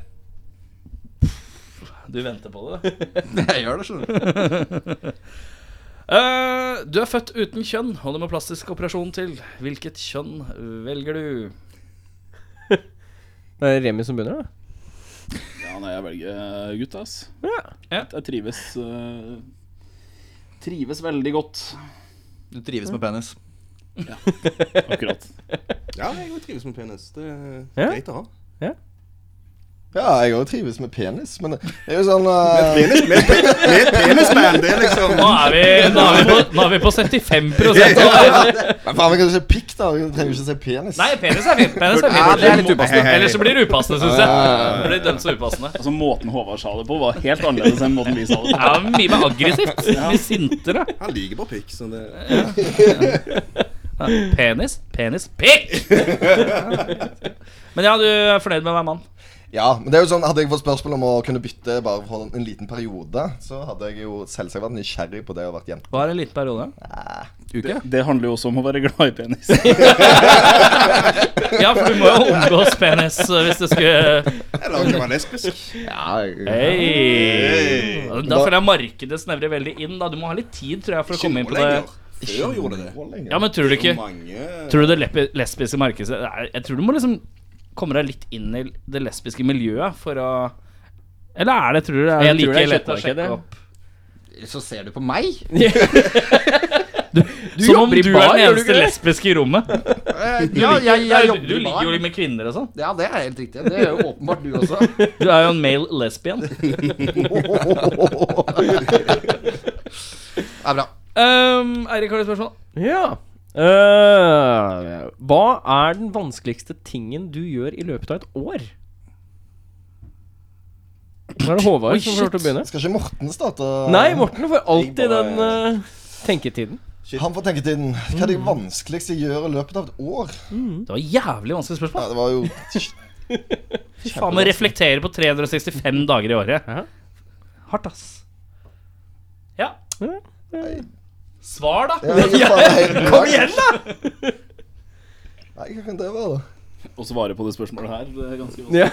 Du venter på det?
(laughs) Jeg gjør det, skjønner du.
Eh, du er født uten kjønn, og det må plastisk operasjon til. Hvilket kjønn velger du?
Det er Remi som begynner, da.
Ja, nei, jeg velger eh, gutt, ass.
Ja.
Jeg trives eh, Trives veldig godt.
Du trives med penis.
Akkurat.
Ja, jeg trives med penis. Det er
Ja.
greit å ha.
Ja, jeg òg trives med penis, men det det er jo sånn eh,
Penis, med, med penisband, det er liksom
Nå er vi, nå er vi, på, nå er vi (laughs) på 75 av
Men faen, vi kan jo si pikk, da. Vi trenger jo ikke si penis.
Nei, penis er fint. Penis er
Ja,
fint.
det er litt upassende.
Ellers så blir det upassende, syns jeg. Det blir dømt så upassende.
Altså, Måten Håvard sa det på, var helt annerledes enn måten vi sa det på.
Ja, men mye mer aggressivt. Mye sintere.
Han liker bare pikk. Så det
(laughs) Penis, penis, pikk! Men ja, du er fornøyd med å være mann?
Ja, men det er jo sånn, Hadde jeg fått spørsmål om å kunne bytte bare for en liten periode, så hadde jeg jo selvsagt vært nysgjerrig på det å vært jente.
Hva er en liten periode?
Uke?
Det handler jo også om å være glad i penis.
Ja, for du må jo omgås penis eh, hvis det skulle
Eller han kan være lesbisk.
Ja, jeg,
Hei! Da føler jeg markedet snevrer veldig inn. da Du må ha litt tid tror jeg, for å komme inn på det.
altså. Før gjorde det det.
lenger.
Ja, men tror du
Det er
ikke
jo mange
Tror du det lepi- lesbiske markedet Nei, Jeg tror du må liksom komme deg litt inn i det lesbiske miljøet for å Eller er det, tror du, det er
Jeg tror
like
det er
lett å
kjøttmarkedet.
sjekke opp?
Så ser du på meg?
Som om
jobber i
du er
bar,
den
gjør du
eneste
ikke det?
lesbiske i rommet.
Eh, Ja,
Nei,
jeg, jeg
du,
jobber
du
i
ligger jo
bar.
med kvinner og sånn.
Ja, det er helt riktig. Det gjør jo åpenbart du (laughs) også.
Du er jo en male lesbian.
Det er bra.
Um, Eirik, har du et spørsmål?
Ja. Eh, hva er den vanskeligste tingen du gjør i løpet av et år? Da er det Håvard som får lov til å begynne.
Skal ikke Morten starte?
Nei, Morten får alltid
bare-
den eh, tenketiden.
Han får tenketiden. Hva er det vanskeligste jeg gjør i løpet av et år?
Det var jævlig vanskelig spørsmål.
Ja, det var jo
Fy faen, å reflektere på 365 dager i året.
Ja.
Hardt, ass. Ja.
Ja,
Svar, da.
Kom igjen, da! Nei, hva kan det være, da?
Å svare på det spørsmålet her det er ganske
Ja.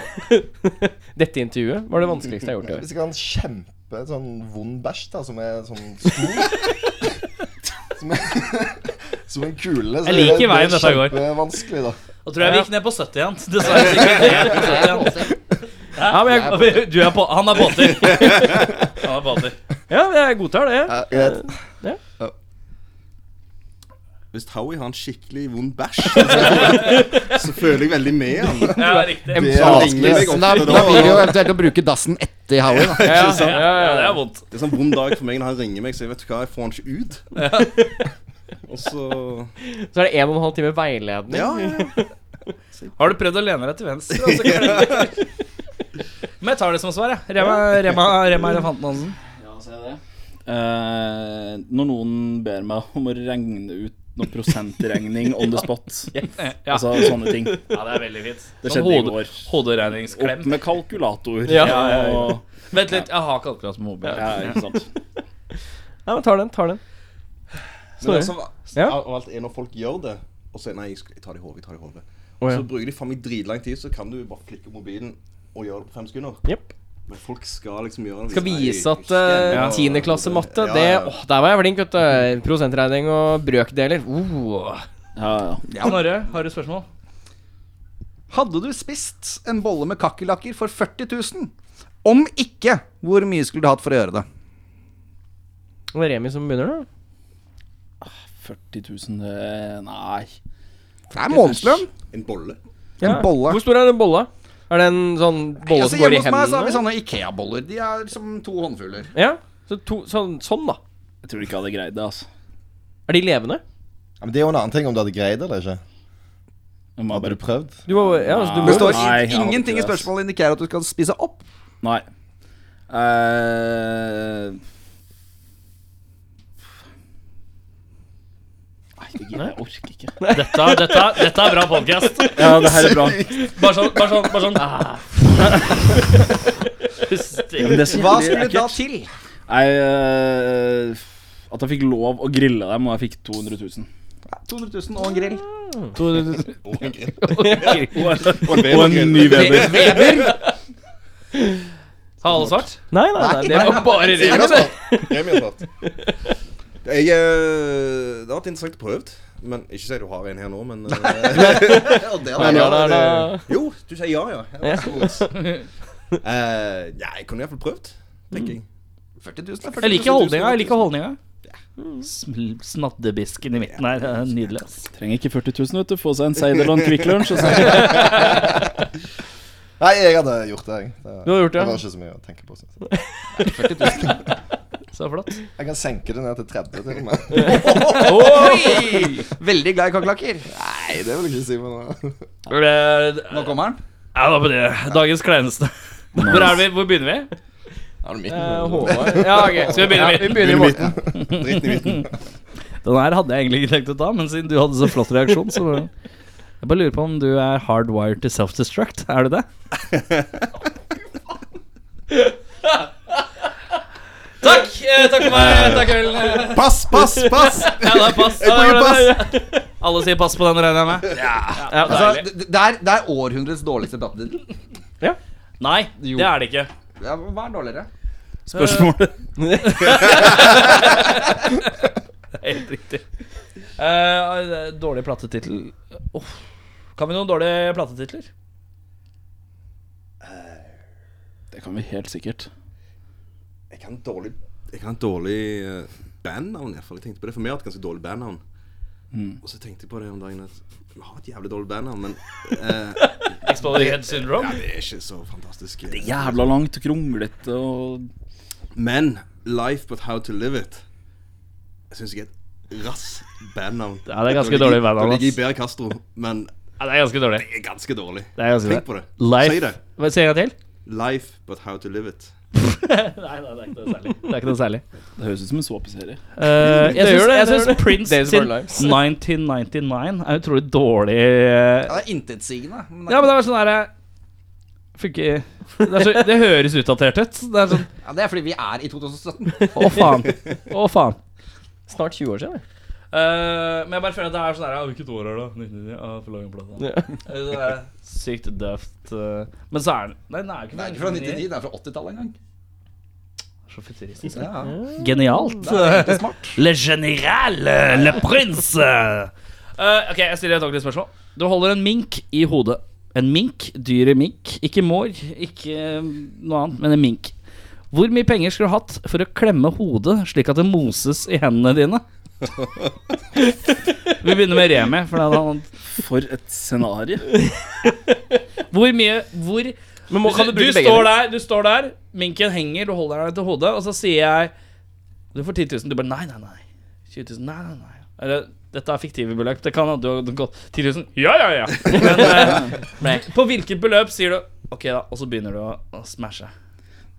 (laughs) Dette intervjuet var det vanskeligste jeg har gjort i år.
Hvis jeg har en kjempe sånn vond bæsj, da, som er sånn stor Som, er- som en kule. så
Jeg liker
det- det er
veien dette går.
Kjempevanskelig, da.
Da tror jeg vi gikk ned på 70 igjen. (laughs) Dessverre. så gikk vi ned på 70 igjen.
Ja, men jeg,
Du er på, han er båter. Han er båter.
ja, men jeg godtar det.
Ja, greit.
Hvis Howie har en skikkelig vond bæsj, så- så føler jeg veldig med han.
Ja, riktig.
Da
Det er
vanskelig.
vanskelig.
da blir det jo eventuelt å bruke dassen etter Howie, da.
Ja, ja,
Ja, ja, det er vondt.
Det er sånn vond dag for meg når han ringer meg, så jeg vet du hva, jeg får han ikke ut. Og så
Så er det en og en halv time veiledning.
Ja, ja. ja.
Har du prøvd å lene deg til venstre? og så klipper du? (laughs) Men jeg tar det som svar, jeg. Rema,
Eh,
Rema, Rema Elefanten Hansen.
Ja, så er det. Eh, når noen ber meg om å regne ut noe prosentregning on the (laughs) spot,
Ja.
altså sånne ting
ja, det er veldig fint. Sånn
Det skjedde i
hode-
går.
Hoderegningsklem.
Opp med kalkulator.
Ja.
Og,
Vent litt, jeg har kalkulat med mobil.
ja ikke sant.
Nei, men tar den, tar den.
Men
Sorry.
altså,
Ja.
av- av alt er når folk gjør det, og så Nei, jeg sk- jeg tar det i hodet, jeg tar det i hodet.
Å, ja.
Så bruker de faen meg dritlang tid, så kan du bare klikke på mobilen og gjøre det på fem sekunder.
Jepp.
Men folk skal liksom gjøre det.
Skal
Nei,
vise at
jeg
uh,
husker det.
tiendeklassematte
Ja,
Det,
ja.
åh, Der var jeg flink, vet du. Prosentregning og brøkdeler. Oh.
Ja, ja.
Norre, har du spørsmål?
Hadde du spist en bolle med kakerlakker for 40 000? Om ikke, hvor mye skulle du hatt for å gjøre det?
Det er Remi som begynner, da.
40 000 eh, Nei.
Det er månedslønn.
En bolle.
En bolle.
Hvor stor er den bolla? Er det en sånn bolle
Altså,
som går i
hjemme hos meg så har vi sånne
hendene?
Ikea-boller. De er som to håndfuller.
Ja, så to, sånn, sånn, da.
Jeg tror ikke jeg hadde greid det, altså.
Er de levende?
Ja, men det er jo en annen ting om du hadde greid det eller ikke.
Jeg må
Hadde
bare
du prøvd?
Du må, ja, altså, du må
Nei.
Det står
Nei, jeg har ikke
ingenting i
det, ass.
spørsmålet indikerer at du skal spise opp.
Nei. Eh, Nei, det gidder jeg. Jeg orker ikke.
Dette, dette, dette er bra podcast
(laughs)
Ah.
Ja, det her er bra.
Bare sånn, bare sånn, bare sånn.
Steak.
Hva skulle da til?
Nei, eh, at jeg fikk lov å grille dem, og jeg fikk 200 000.
200 000 og en grill.
Og en ny Weber.
Har alle svart?
Nei, nei, nei, det var bare
Jeg har svart. Jeg har svart. Jeg, eh, det har vært interessant prøvd. Men Ikke si du har en her nå, (laughs) men eh,
Ja, det
Men ja,
var ja,
da, da.
Jo, du sier ja, ja. ja. absolutt.
(laughs)
Eh, ja, jeg kunne iallfall prøvd, tenker jeg.
40 000 er
Jeg
40
liker holdninga. jeg liker holdninga Sm- Snaddebisken i midten her. det er Nydelig. ass.
Trenger ikke 40 000, vet du. Få seg en Seidel og en Kvikk Lunsj. og så-
Nei, jeg hadde gjort det, jeg. Det,
Du har gjort det,
det
ja.
var ikke så mye å tenke på. Synes. jeg.
Så flott.
Jeg kan senke det ned til 30 til og med.
Oi! Veldig glad i kakerlakker.
Nei, det vil jeg ikke si, men
Nå kommer den.
Ja, da på det. Dagens kleineste. Hvor er vi? Hvor begynner vi?
Eh, Håvard Ja, ok.
Skal vi begynne i midten?
Vi begynner i morgen. (laughs)
Dritten i midten.
Den her hadde jeg egentlig ikke tenkt å ta, men siden du hadde så flott reaksjon, så bare- Jeg bare lurer på om du er hardwired to self-destruct. Er du det? (laughs) takk! Eh, takk for meg. Takk, Ølen.
Pass, pass,
(laughs)
pass!
Ja, det er pass.
Jeg bruker pass.
Alle sier pass på den, regner jeg med. Ja,
Altså,
deilig.
d- d- det, er, det er århundrets dårligste (laughs) platedel.
Nei, det er det ikke.
Ja, hva er dårligere?
Spørsmålet.
Helt riktig. Eh, dårlig platetittel Uff. Kan vi noen dårlige platetitler?
Det kan vi helt sikkert.
Jeg kan dårlig Jeg kan dårlig eh, bandnavn, iallfall. Jeg tenkte på det, for vi har hatt ganske dårlig bandnavn.
Mm.
Og så tenkte jeg på det om dagen at vi har et jævlig dårlig bandnavn, men eh,
Exploding Head Syndrome?
det er ikke så fantastisk.
Det er jævla langt og kronglete og
Men Life But How To Live It Jeg synes jeg er et rass bandnavn.
Ja, det er ganske dårlig bandnavn,
Det ligger
ass.
i Bear Castro, men
Ja, det er ganske dårlig.
det er ganske dårlig.
Det er ganske dårlig.
Tenk på det. Si
Life
det.
Hva sier jeg til?
Life But How To Live It.
Nei, nei, det er ikke noe særlig. Det er ikke noe særlig.
Det høres ut som en såpeserie.
Eh, jeg
Det
syns,
gjør det,
jeg
det
syns
gjør det.
Prince
Days of
sin
Our Lives.
1999 er utrolig dårlig eh,
Ja, det er intetsigende. men det er-
Ja, men det er sånn derre Funker det, er så, det høres utdatert ut. Det er sånn
Ja, det er fordi vi er i 2017.
Å, faen. Å, faen.
Snart 20 år siden.
Eh, men jeg bare føler at det er sånn der ja, Hvilket år er det? 1999? Ja, for lang plate.
Ja.
Eh, Det er sykt døvt. eh, Men så er den Nei, den er jo ikke
Det er ikke fra 99, det er fra 80-tallet engang.
Så futuristisk.
Ja.
Genialt. Le general, le prince. Eh, ok, jeg stiller et ordentlig spørsmål. Du holder en mink i hodet. En mink, dyret mink. Ikke mår, ikke eh, noe annet, men en mink. Hvor mye penger skulle du hatt for å klemme hodet slik at det moses i hendene dine? Vi begynner med Remi. For det er noe annet.
For et scenario.
hvor mye Hvor
Men må, kan du
du,
bruke begge?
står
deler?
der, du står der, minken henger, du holder deg til hodet, og så sier jeg Du får 10 000. Du bare nei, nei, nei. 20 000. Nei, nei, nei. Eller dette er fiktive beløp. Det kan ha du har gått 10 000. Ja, ja, ja. (laughs) Men eh, nei. på hvilket beløp sier du OK, da, og så begynner du å, å smashe.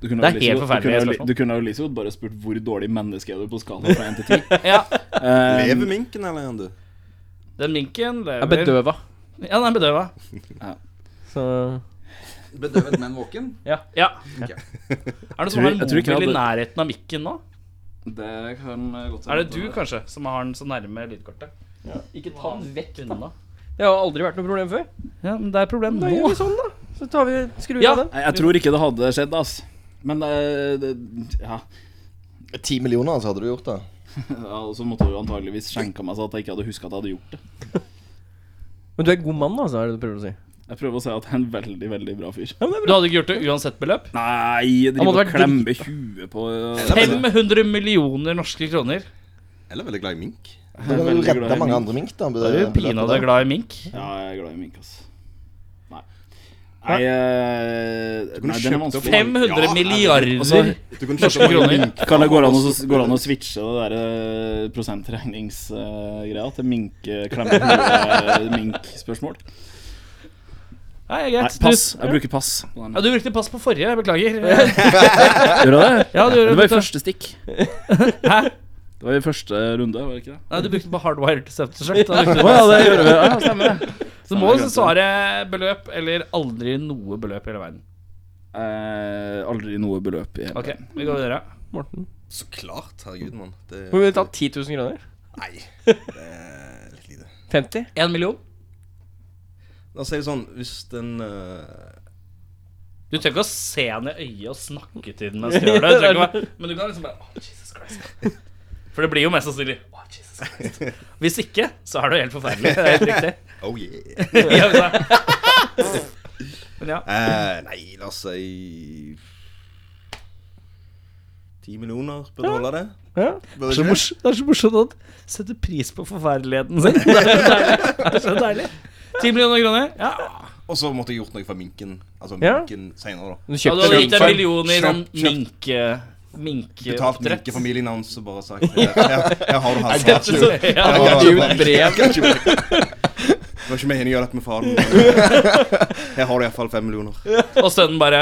Du kunne
Det er
jo
helt
liksom-
forferdelig
Du kunne,
spørsmål.
jo- du kunne jo liksom godt bare spurt hvor dårlig menneske er du på skala fra 1 til 10.
(laughs) Ja,
Lever
Um,
minken, eller er han død?
den minken lever.
Jeg er bedøva.
Ja, den er bedøva.
Så
Bedøvet, men våken.
Ja. Er det noen som har en
Jeg tror ikke jeg
mobil i
hadde-
nærheten av mikken nå?
det kan godt
Er det du, kanskje, som har den så nærme lydkortet? Ikke ta den vekk unna.
Det har aldri vært noe problem før.
Ja, men det er et problem
Da gjør
nå.
vi sånn, da. Så tar vi skrur
Ja.
av den.
Jeg, jeg tror ikke det hadde skjedd, ass. Men det, det Ja.
(laughs) Ti millioner, så hadde du gjort det.
Ja, og så måtte du antageligvis skjenka meg så at jeg ikke hadde huska at jeg hadde gjort det.
Men du er en god mann, altså, er det du prøver å si.
Jeg prøver å si at jeg er en veldig, veldig bra fyr.
Du hadde ikke gjort det uansett beløp?
Nei,
Han
jeg driver
måtte
og
vært
klemmer huet på Jeg
500 millioner norske kroner.
Eller veldig glad i mink?
Da kan du
veldig glad i
redde mange
mink.
andre mink. da
Da er du pinadø glad i mink.
Ja, jeg er glad i mink, ass. Nei. Nei, eh,
kunne
nei den er
kjøpt opp
vanskelig.
fem-
500
Ja, altså,
milliarder
Du kunne
norske
kjøpt mange
kroner.
mink.
Kan det gå an å, går det an å switche det der eh, prosentregningsgreia til eh, mink-klemme-mink-spørsmål?
Nei,
(laughs) Nei,
greit.
pass.
Du,
Jeg bruker pass.
ja, du brukte pass på forrige, jeg
(laughs)
beklager.
Gjør du det?
Ja, du,
Det var i
brukte,
første stikk.
Hæ?
Det var i første runde, var det ikke det?
nei, du brukte på hardwired self-destruct. da brukte
Å
du
ja,
pass.
det gjorde vi. Ja, stemmer det.
Så du må jo svare beløp eller aldri noe beløp i hele verden.
Eh, aldri noe beløp i hele
Ok, vi går videre.
Morten.
Så klart, herregud, mann. Det,
Hvor vil du ta 10 000 kroner?
nei, det er litt lite.
50?
Én million.
La oss si det sånn, hvis den eh,
Du trenger ikke å se henne i øyet og snakke til den mens du gjør det. Du trenger ikke å være- men du kan liksom bare «Åh, Jesus Christ. For det blir jo mest sannsynlig «Åh, Jesus Christ. Hvis ikke, så er det jo helt forferdelig. Det er helt
(laughs)
riktig.
Oh yeah.
Ja, hvis det- Men ja.
Eh, nei, la oss si Ti millioner burde holde det.
ja.
Burde
Så
ikke det?
mors- (laughs) det er så morsomt at han setter pris på forferdeligheten sin. Det (laughs) er så deilig. Det er så
(laughs)
deilig. 10 millioner kroner? Ja.
Og så måtte jeg gjort noe for minken. Altså
Ja.
minken senere, da.
Du
ja du hadde
kjøpte
gitt en million i sånn
Kjøpt, kjøpt.
mink...
Betalt
minkeoppdrett.
minkefamilien hans og bare sagt Her, her, her har du hans mat.
Så- (laughs) ja.
Ut brev.
Det var ikke meningen å gjøre dette med faren. Her har du iallfall fem millioner.
Og sønnen bare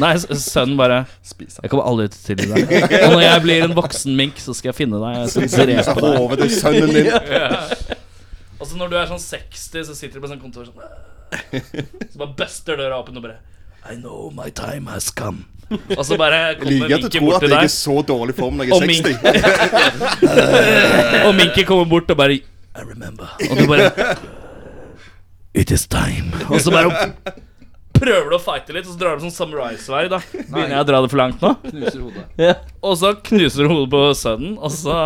Nei, s- sønnen bare
Spis
Jeg kommer aldri til å tilgi deg. Og når jeg blir en voksen mink, så skal jeg finne deg. Jeg skal drepe
Spise hodet til sønnen din.
Og så når du er sånn 60, så sitter du på sånn kontor sånn Så bare buster døra åpen og bare I know my time has come. Og så bare
Jeg
kommer
liker at du
minken
tror
bort
at
til
jeg er
deg,
så dårlig form når
Og
jeg er
mink.
60.
og minken kommer bort og bare I remember. Og du bare It is time. Og så bare prøver du å fighte litt, og så drar du sånn samurai-sverd. da Begynner jeg å dra det for langt nå?
Knuser hodet.
Og så knuser hodet på sønnen, og så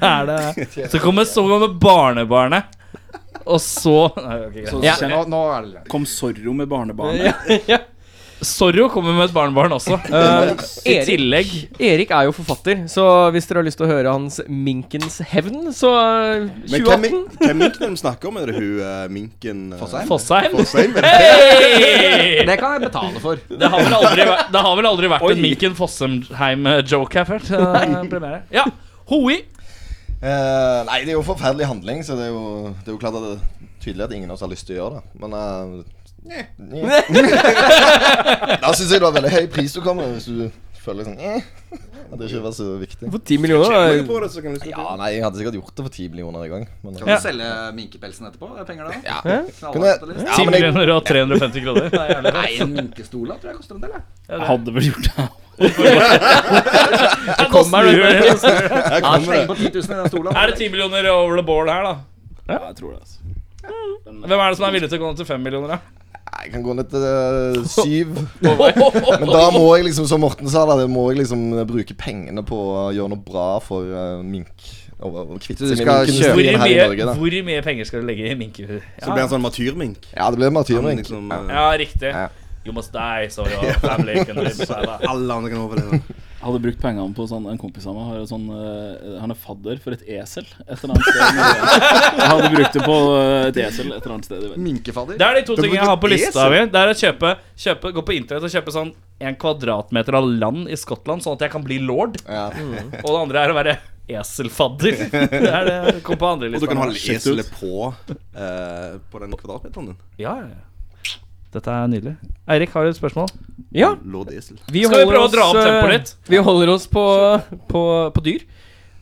der er det Så kommer, så kommer barnebarnet, og så Nei, ok, greit.
Så
Ja.
kjenn-
Nå, nå er det
kom Sorro med barnebarnet.
Ja, ja.
Sorro kommer med et barnebarn også.
Eh,
I
Erik.
tillegg.
eh, Erik er jo forfatter, så hvis dere har lyst til å høre hans Minkens hevn, så eh,
Men hvem,
2018.
hvem minken de snakker om? Er det hun eh, minken eh,
Fossheim?
Fossheim.
Fossheim, vel?
Hey!
Det kan jeg betale for.
Det har vel aldri, vært- det har vel aldri vært en Minken Fossheim-joke her før. eh, premiere. Ja. Hoi.
Eh, nei, det er jo forferdelig handling, så det er jo, det er jo klart at det er tydelig at ingen av oss har lyst til å gjøre det. Men eh, Neh. (laughs) Da syns jeg det var veldig høy pris du kom med, hvis du føler sånn eh, At det ikke var så viktig.
For 10 millioner
Tjener
er
du på det, så kan du skrive
Ja,
på.
nei, jeg hadde sikkert gjort det for ti millioner en gang. Men,
Kan du selge minkepelsen etterpå? Det er penger da.
Ja.
Knallkapitalist.
Ja,
10
men jeg-
millioner og 350 kroner. Det er jævlig.
Nei, en minkestol da, tror jeg koster en del. jeg.
Jeg (laughs) hadde vel gjort det.
Ja, nå snur det.
Her
Ja,
kommer
Sleng
det.
på 10 000 i den stolen.
Er det 10 millioner over the board her, da?
Ja, jeg tror det. altså
Hvem er det som er villig til å gå ned til 5 millioner, da?
Jeg kan gå ned til eh, syv. (laughs) Men da må jeg liksom, som Morten sa, da, det må jeg liksom eh, bruke pengene på å gjøre noe bra for eh, mink. Og, og kvitte
Så du
seg
skal
med
kjøpe-
Hvor
minkindustrien her i
mye,
Norge. Da.
hvor mye penger skal du legge i minker?
Så blir han sånn martyrmink.
Ja, det blir
Han
martyrmink.
liksom,
Ja.
eh,
Ja, riktig.
Ja.
You must die, so
(laughs)
your family can live forever.
Alle andre kan overleve.
Jeg hadde brukt pengene på sånn, en kompis av meg. Har et sånn, eh, han er fadder for et esel et eller annet sted. i Norge. Jeg hadde brukt det på eh, et esel et eller annet sted i verden.
Minkefadder?
Det er de to tingene
Da bruker
jeg har på
du
lista
esel.
mi. Det er å kjøpe, kjøpe, gå på internett og kjøpe sånn en kvadratmeter av land i Skottland, sånn at jeg kan bli lord.
Ja.
Og det andre er å være
(laughs)
eselfadder. Det er det jeg kom på andre
Og du
lista.
kan ha
nå.
eselet på eh, På den kvadratmeteren din.
Ja, ja, ja. Dette er nydelig. Eirik, har du et spørsmål?
Ja,
Lord Esel.
Skal
vi
vi
holder
prøve å dra opp
eh,
tempoet litt?
Vi holder oss på, på, på dyr.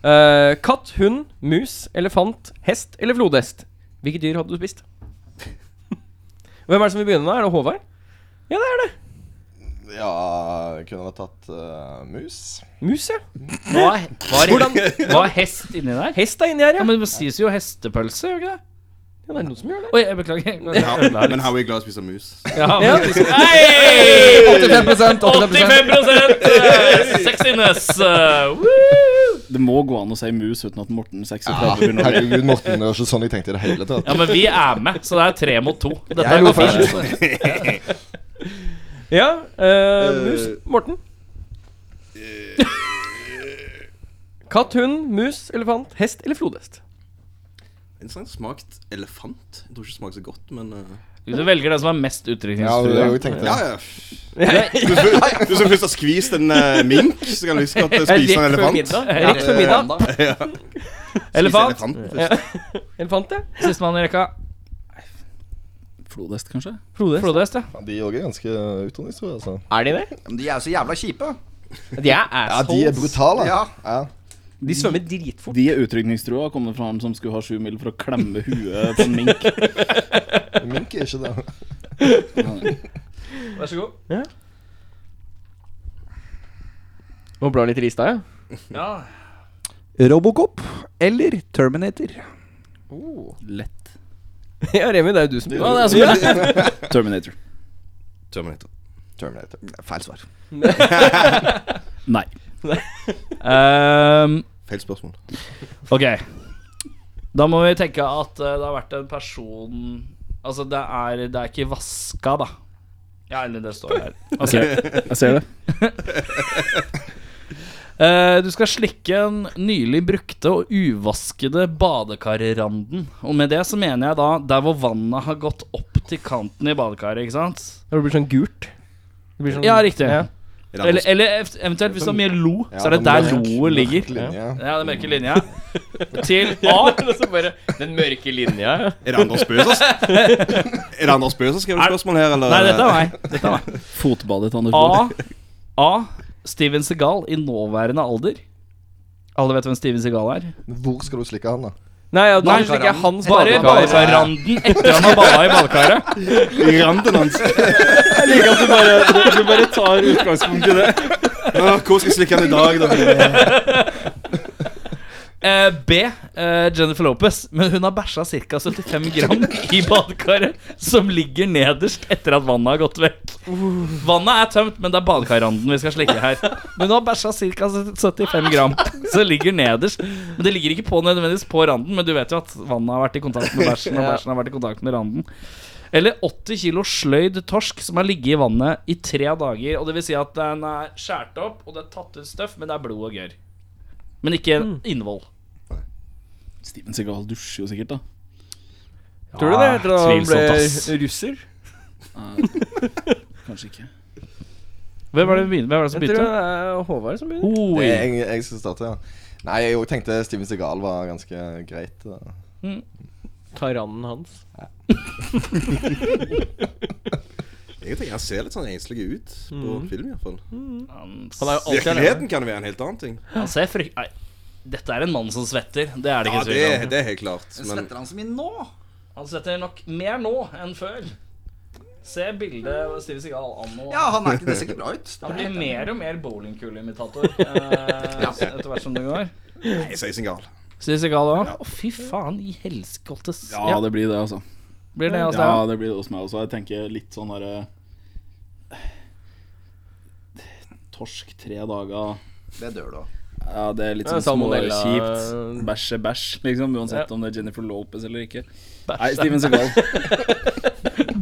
Eh, katt, hund, mus, elefant, hest eller flodhest? Hvilket dyr hadde du
(laughs)
spist? Hvem er det som vil begynne da? Er det Håvard? Ja, det er det.
Ja, jeg kunne ha tatt eh, mus.
Mus, ja.
Hva er, hva er, hva er hest inni der?
Hest er inni her,
Ja,
ja.
men Det sies jo hestepølse, gjør det ikke det?
ja det er noen som gjør det.
Oi, jeg beklager.
Ja, men Howie er glad i å spise mus.
Ja,
Ja.
men- Hei!
85 85
85 sexiness! eh, woo!
Det må gå an å si mus uten at Morten 36 begynner å bli
Herregud, Morten, det var ikke sånn jeg tenkte i det hele tatt.
Ja, men vi er med, så det er tre mot to. Dette
Jeg
går
lo
fint.
først.
Ja, eh, mus. Morten? Katt, hund, mus, elefant, hest eller flodhest?
Interessant smakt elefant. Jeg tror ikke det smaker så godt, men eh,
Du velger den som er mest
Ja, det var det
utrykningstrua.
jeg tenkte.
Ja, ja. Du, du som først har skvist en eh, mink, så kan du like så godt eh, spise en elefant.
Rett før middag.
Elefant.
Spise elefanten først.
Elefant, ja.
Sistemann i rekka.
flodhest, kanskje?
Flodhest.
Flodhest, ja.
Ja, De er også ganske utrydningstrua, altså.
Er de det?
Men De er jo så jævla kjipe.
De er
Ja, de er
assholes.
brutale.
Ja.
Ja.
De svømmer dritfort.
De er utrykningstrua. Kom det fra han som skulle ha sju mil for å klemme huet på en mink?
Mink er ikke det.
Vær så god.
Må bla litt i lista, ja.
Ja.
Robocop eller Terminator?
Lett.
Oh. (laughs) ja, Remi, det er jo du som
Ja, det er så bra. Terminator.
Terminator.
Terminator.
Feil svar.
Nei.
(laughs) Ehm,
Feil spørsmål.
ok. Da må vi tenke at eh, det har vært en person Altså, det er, det er ikke vaska, da. Ja, eller det står her.
(laughs) Jeg ser, jeg ser det.
(laughs) Eh, du skal slikke den nylig brukte og uvaskede badekarranden. Og med det så mener jeg da der hvor vannet har gått opp til kanten i badekaret, ikke sant?
Mm.
Det blir sånn gult. Det blir sånn
Ja, riktig.
Ja.
Er det
Eller,
andre
eller ev- eventuelt hvis det er mye lo,
Ja,
så er det
den
der
mørk-
loet ligger.
mørk linje.
Ja, den mørke linja. Til A.
Og så bare Den mørke linja.
Er det Anders Bøe som
(laughs)
Er det Anders Bøe som skrev spørsmål her, eller?
Nei, dette er meg. Dette er meg.
Fotbadet til Anders Bøe.
A. A. Steven Segal i nåværende alder. Alle vet hvem Steven Segal er?
Hvor skal du slikke han, da?
Nei, ja, det
Nei,
er slik jeg hans
Bare
badekar.
badekarranden etter han har bada i badekaret.
I randen hans.
Jeg liker at du bare, du bare tar utgangspunkt i det.
Åh, Hvor skal jeg slikke han i dag,
(laughs)
da?
Eh, B. Eh, Jennifer Lopez. Men hun har bæsja ca. 75 gram i badekaret, som ligger nederst etter at vannet har gått vekk. Vannet er tømt, men det er badekarranden vi skal slikke her. Men hun har bæsja ca. 75 gram, som ligger nederst. Men det ligger ikke på nødvendigvis på randen, men du vet jo at vannet har vært i kontakt med bæsjen, og bæsjen har vært i kontakt med randen. Eller 80 kilo sløyd torsk som har ligget i vannet i tre dager. Og det vil si at den er skåret opp, og det er tatt ut støff, men det er blod og gørr. Men ikke innvoll.
Steven Segal dusjer jo sikkert, da.
Tror du det? Etter at han
Tvilsomt, ass.
ble russer?
Kanskje ikke.
Hvem var det, vi begynte- hvem var det som
Jeg tror
begynte?
det er Håvard som begynner.
Oi.
Det er Jeg, jeg skal starte, ja. Nei, jeg jo tenkte Steven Segal var ganske greit. Da.
Tyrannen hans.
Jeg tenker Han ser litt sånn enslig ut på
Mm.
film, i hvert fall.
Han,
Han er jo alltid alene.
Virkeligheten kan være en helt annen ting.
han ser frykt... altså, Nei, dette er en mann som svetter. Det er det
Ja,
ikke
det,
tvil om.
det er helt klart. Men
Svetter han så mye nå?
Han svetter nok mer nå enn før. Se bildet av Steve Segal anno.
Ja, han er ikke det ser ikke bra ut.
Han blir mer og mer bowlingkuleimitator eh, etter hvert som det går.
jeg sier Singal.
Steve Segal òg? Å, fy faen i helskottes.
Ja, det blir det, altså.
blir det altså.
Ja, det blir det hos meg også. Jeg tenker litt sånn derre Torsk tre dager
Det dør du av.
Ja, det er litt
Ja,
sånn smålig
salmonella-
kjipt. Bæsj er bæsj, liksom. Uansett
Ja.
om det er Jennifer Lopez eller ikke.
Bæsj
Nei,
er-
Steven Segal.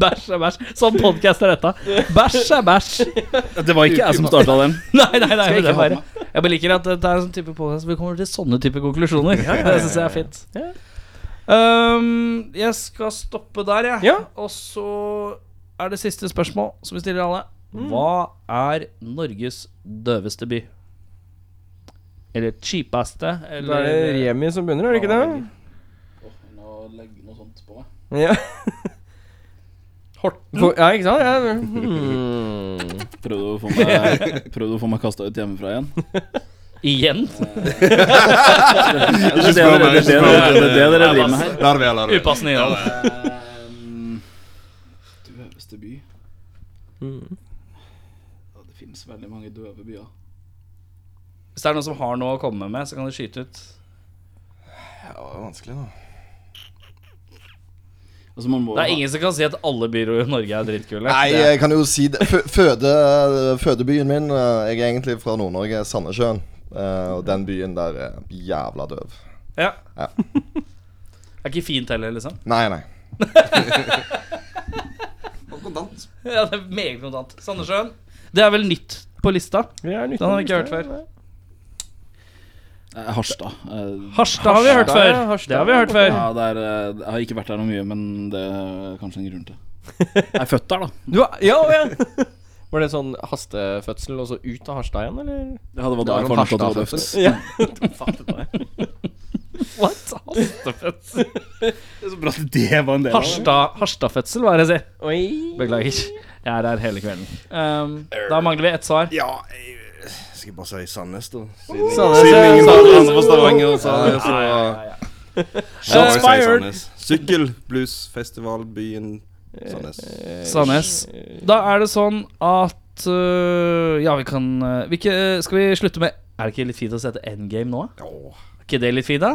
Bæsj er bæsj. Sånn podkast er dette. Bæsj er bæsj.
(laughs) Det var ikke jeg som starta den.
(laughs) Nei, nei, nei, men det er bare (laughs) Jeg bare liker at det er en sånn type podcast hvor vi kommer til sånne type konklusjoner. (laughs) Det syns jeg er fint. Um, jeg skal stoppe der, jeg.
Ja.
Og så er det siste spørsmål som vi stiller alle. Hva er Norges døveste by? Eller cheapeste?
Da
Eller
er det Remi som begynner, er det ikke det?
Å legge noe sånt på meg.
Ja,
Horten?
For, ja ikke sant? Ja. Hmm.
Prøvde å få (laughs) meg, prøvde å få meg kasta ut hjemmefra igjen.
Igjen?
Det er det
spør
dere-
meg,
det
ikke spør
er det- det er det dere driver med her.
La det være, la det være.
Upassende innhold.
Ehm, Døveste by
Mm.
ja, Det finnes veldig mange døve byer.
Hvis det er noen som har noe å komme med, så kan de skyte ut.
Ja, det var vanskelig, da.
Altså, man må
Det er
ha-
ingen som kan si at alle byer i Norge er drittkule.
Nei,
Det-
jeg kan jo si det. Fø- Føde, fødebyen min eh, Jeg er egentlig fra Nord-Norge, Sandnessjøen. Eh, og den byen der er jævla døv.
ja.
Ja.
(laughs) Det er ikke fint heller, liksom.
Nei, nei.
Og kontant.
(laughs) Ja, det er meget kontant. Sandnessjøen. Det er vel nytt på lista?
Vi er nytt
Den har
i
vi ikke
lista,
hørt før.
Eh, Harstad. Eh,
Harstad har vi hørt
Harstad, ja,
før.
Harstad.
Det har vi hørt før.
Ja, det er, eh, jeg har ikke vært der noe mye, men det er kanskje en grunn til. Jeg er født der, da.
Du, har- ja, å, ja. (laughs) Var det sånn hastefødsel og så ut av Harstad igjen, eller?
Ja, det var da jeg
var
fant ut at det var
Harstad
døvt.
Ja.
(laughs)
What? Harstadfødsel.
Det er så bra at det var en del av det.
Harstad, Harstadfødsel, hva er det jeg sier?
Oi.
Beklager. Jeg er her hele kvelden. Um, da mangler vi ett svar.
Ja, jeg skal jeg bare si Sandnes, da. Siden
Sandnes, ja.
andre fra Stavanger, så
Ja, ja, ja.
Sandnes. Sykkelbluesfestivalbyen
Eh,
Sandnes.
Sandnes. Da er det sånn at øh, Ja, vi kan øh, vi ikke, Skal vi slutte med Er det ikke litt fint å sette endgame nå? da? Er ikke det litt fint, da?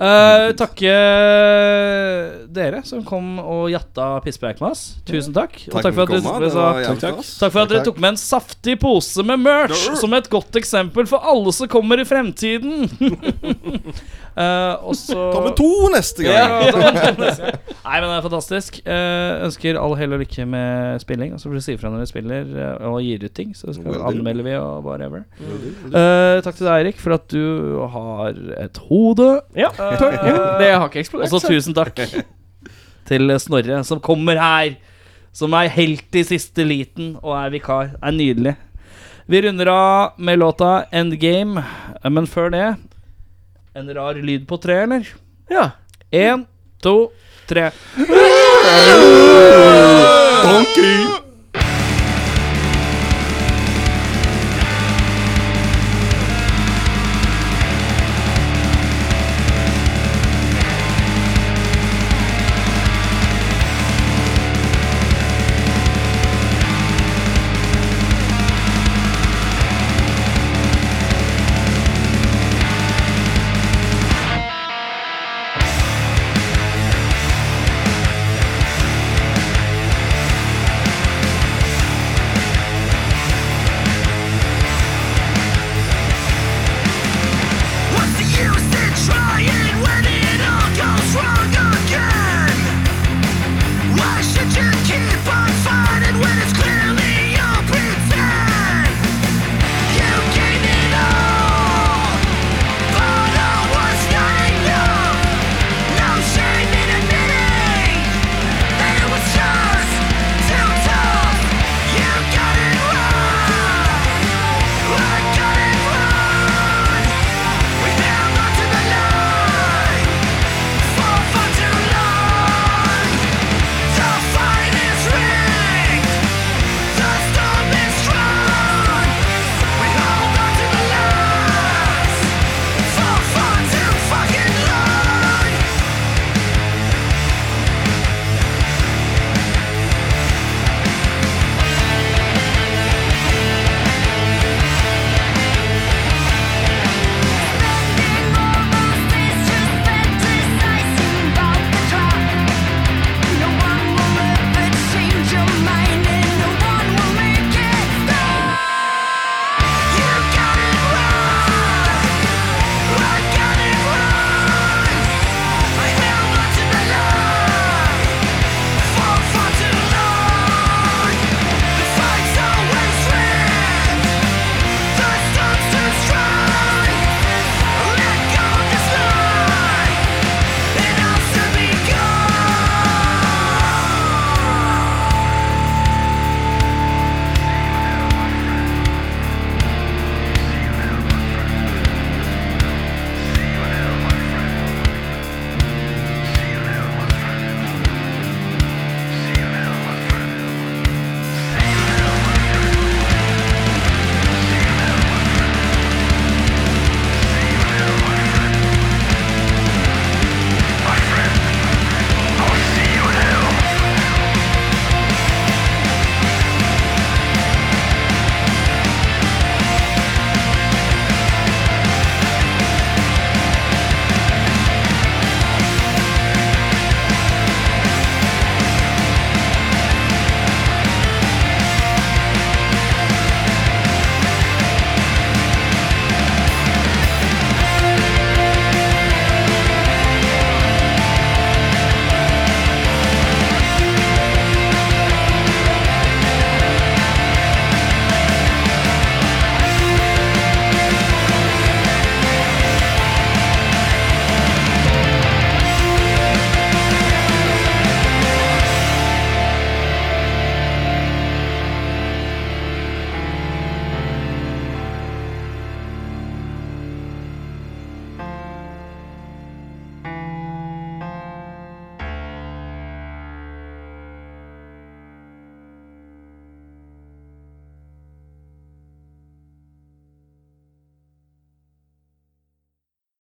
Eh, takke øh, dere som kom og jatta pisspreik med oss. Tusen takk. Og takk for at
kom,
dere
det var jævlig
takk,
stas.
for at dere tok med en saftig pose med merch som et godt eksempel for alle som kommer i fremtiden. (laughs) Eh, og så
Ta med to neste gang.
sånn. Nei, men det er fantastisk. Eh, ønsker all hell og lykke med spilling. Og så får du si ifra når du spiller eh, og gir ut ting. Så skal,
Will do.
anmelder vi og whatever. Eh, takk til deg, Eirik, for at du har et hode.
Ja, takk. Jo, det har ikke eksplodert.
Og så tusen takk til Snorre, som kommer her. Som er helt i siste liten og er vikar. Er nydelig. Vi runder av med låta 'Endgame', eh, men før det En rar lyd på tre, eller?
Ja.
Én, to, tre.
Donkey!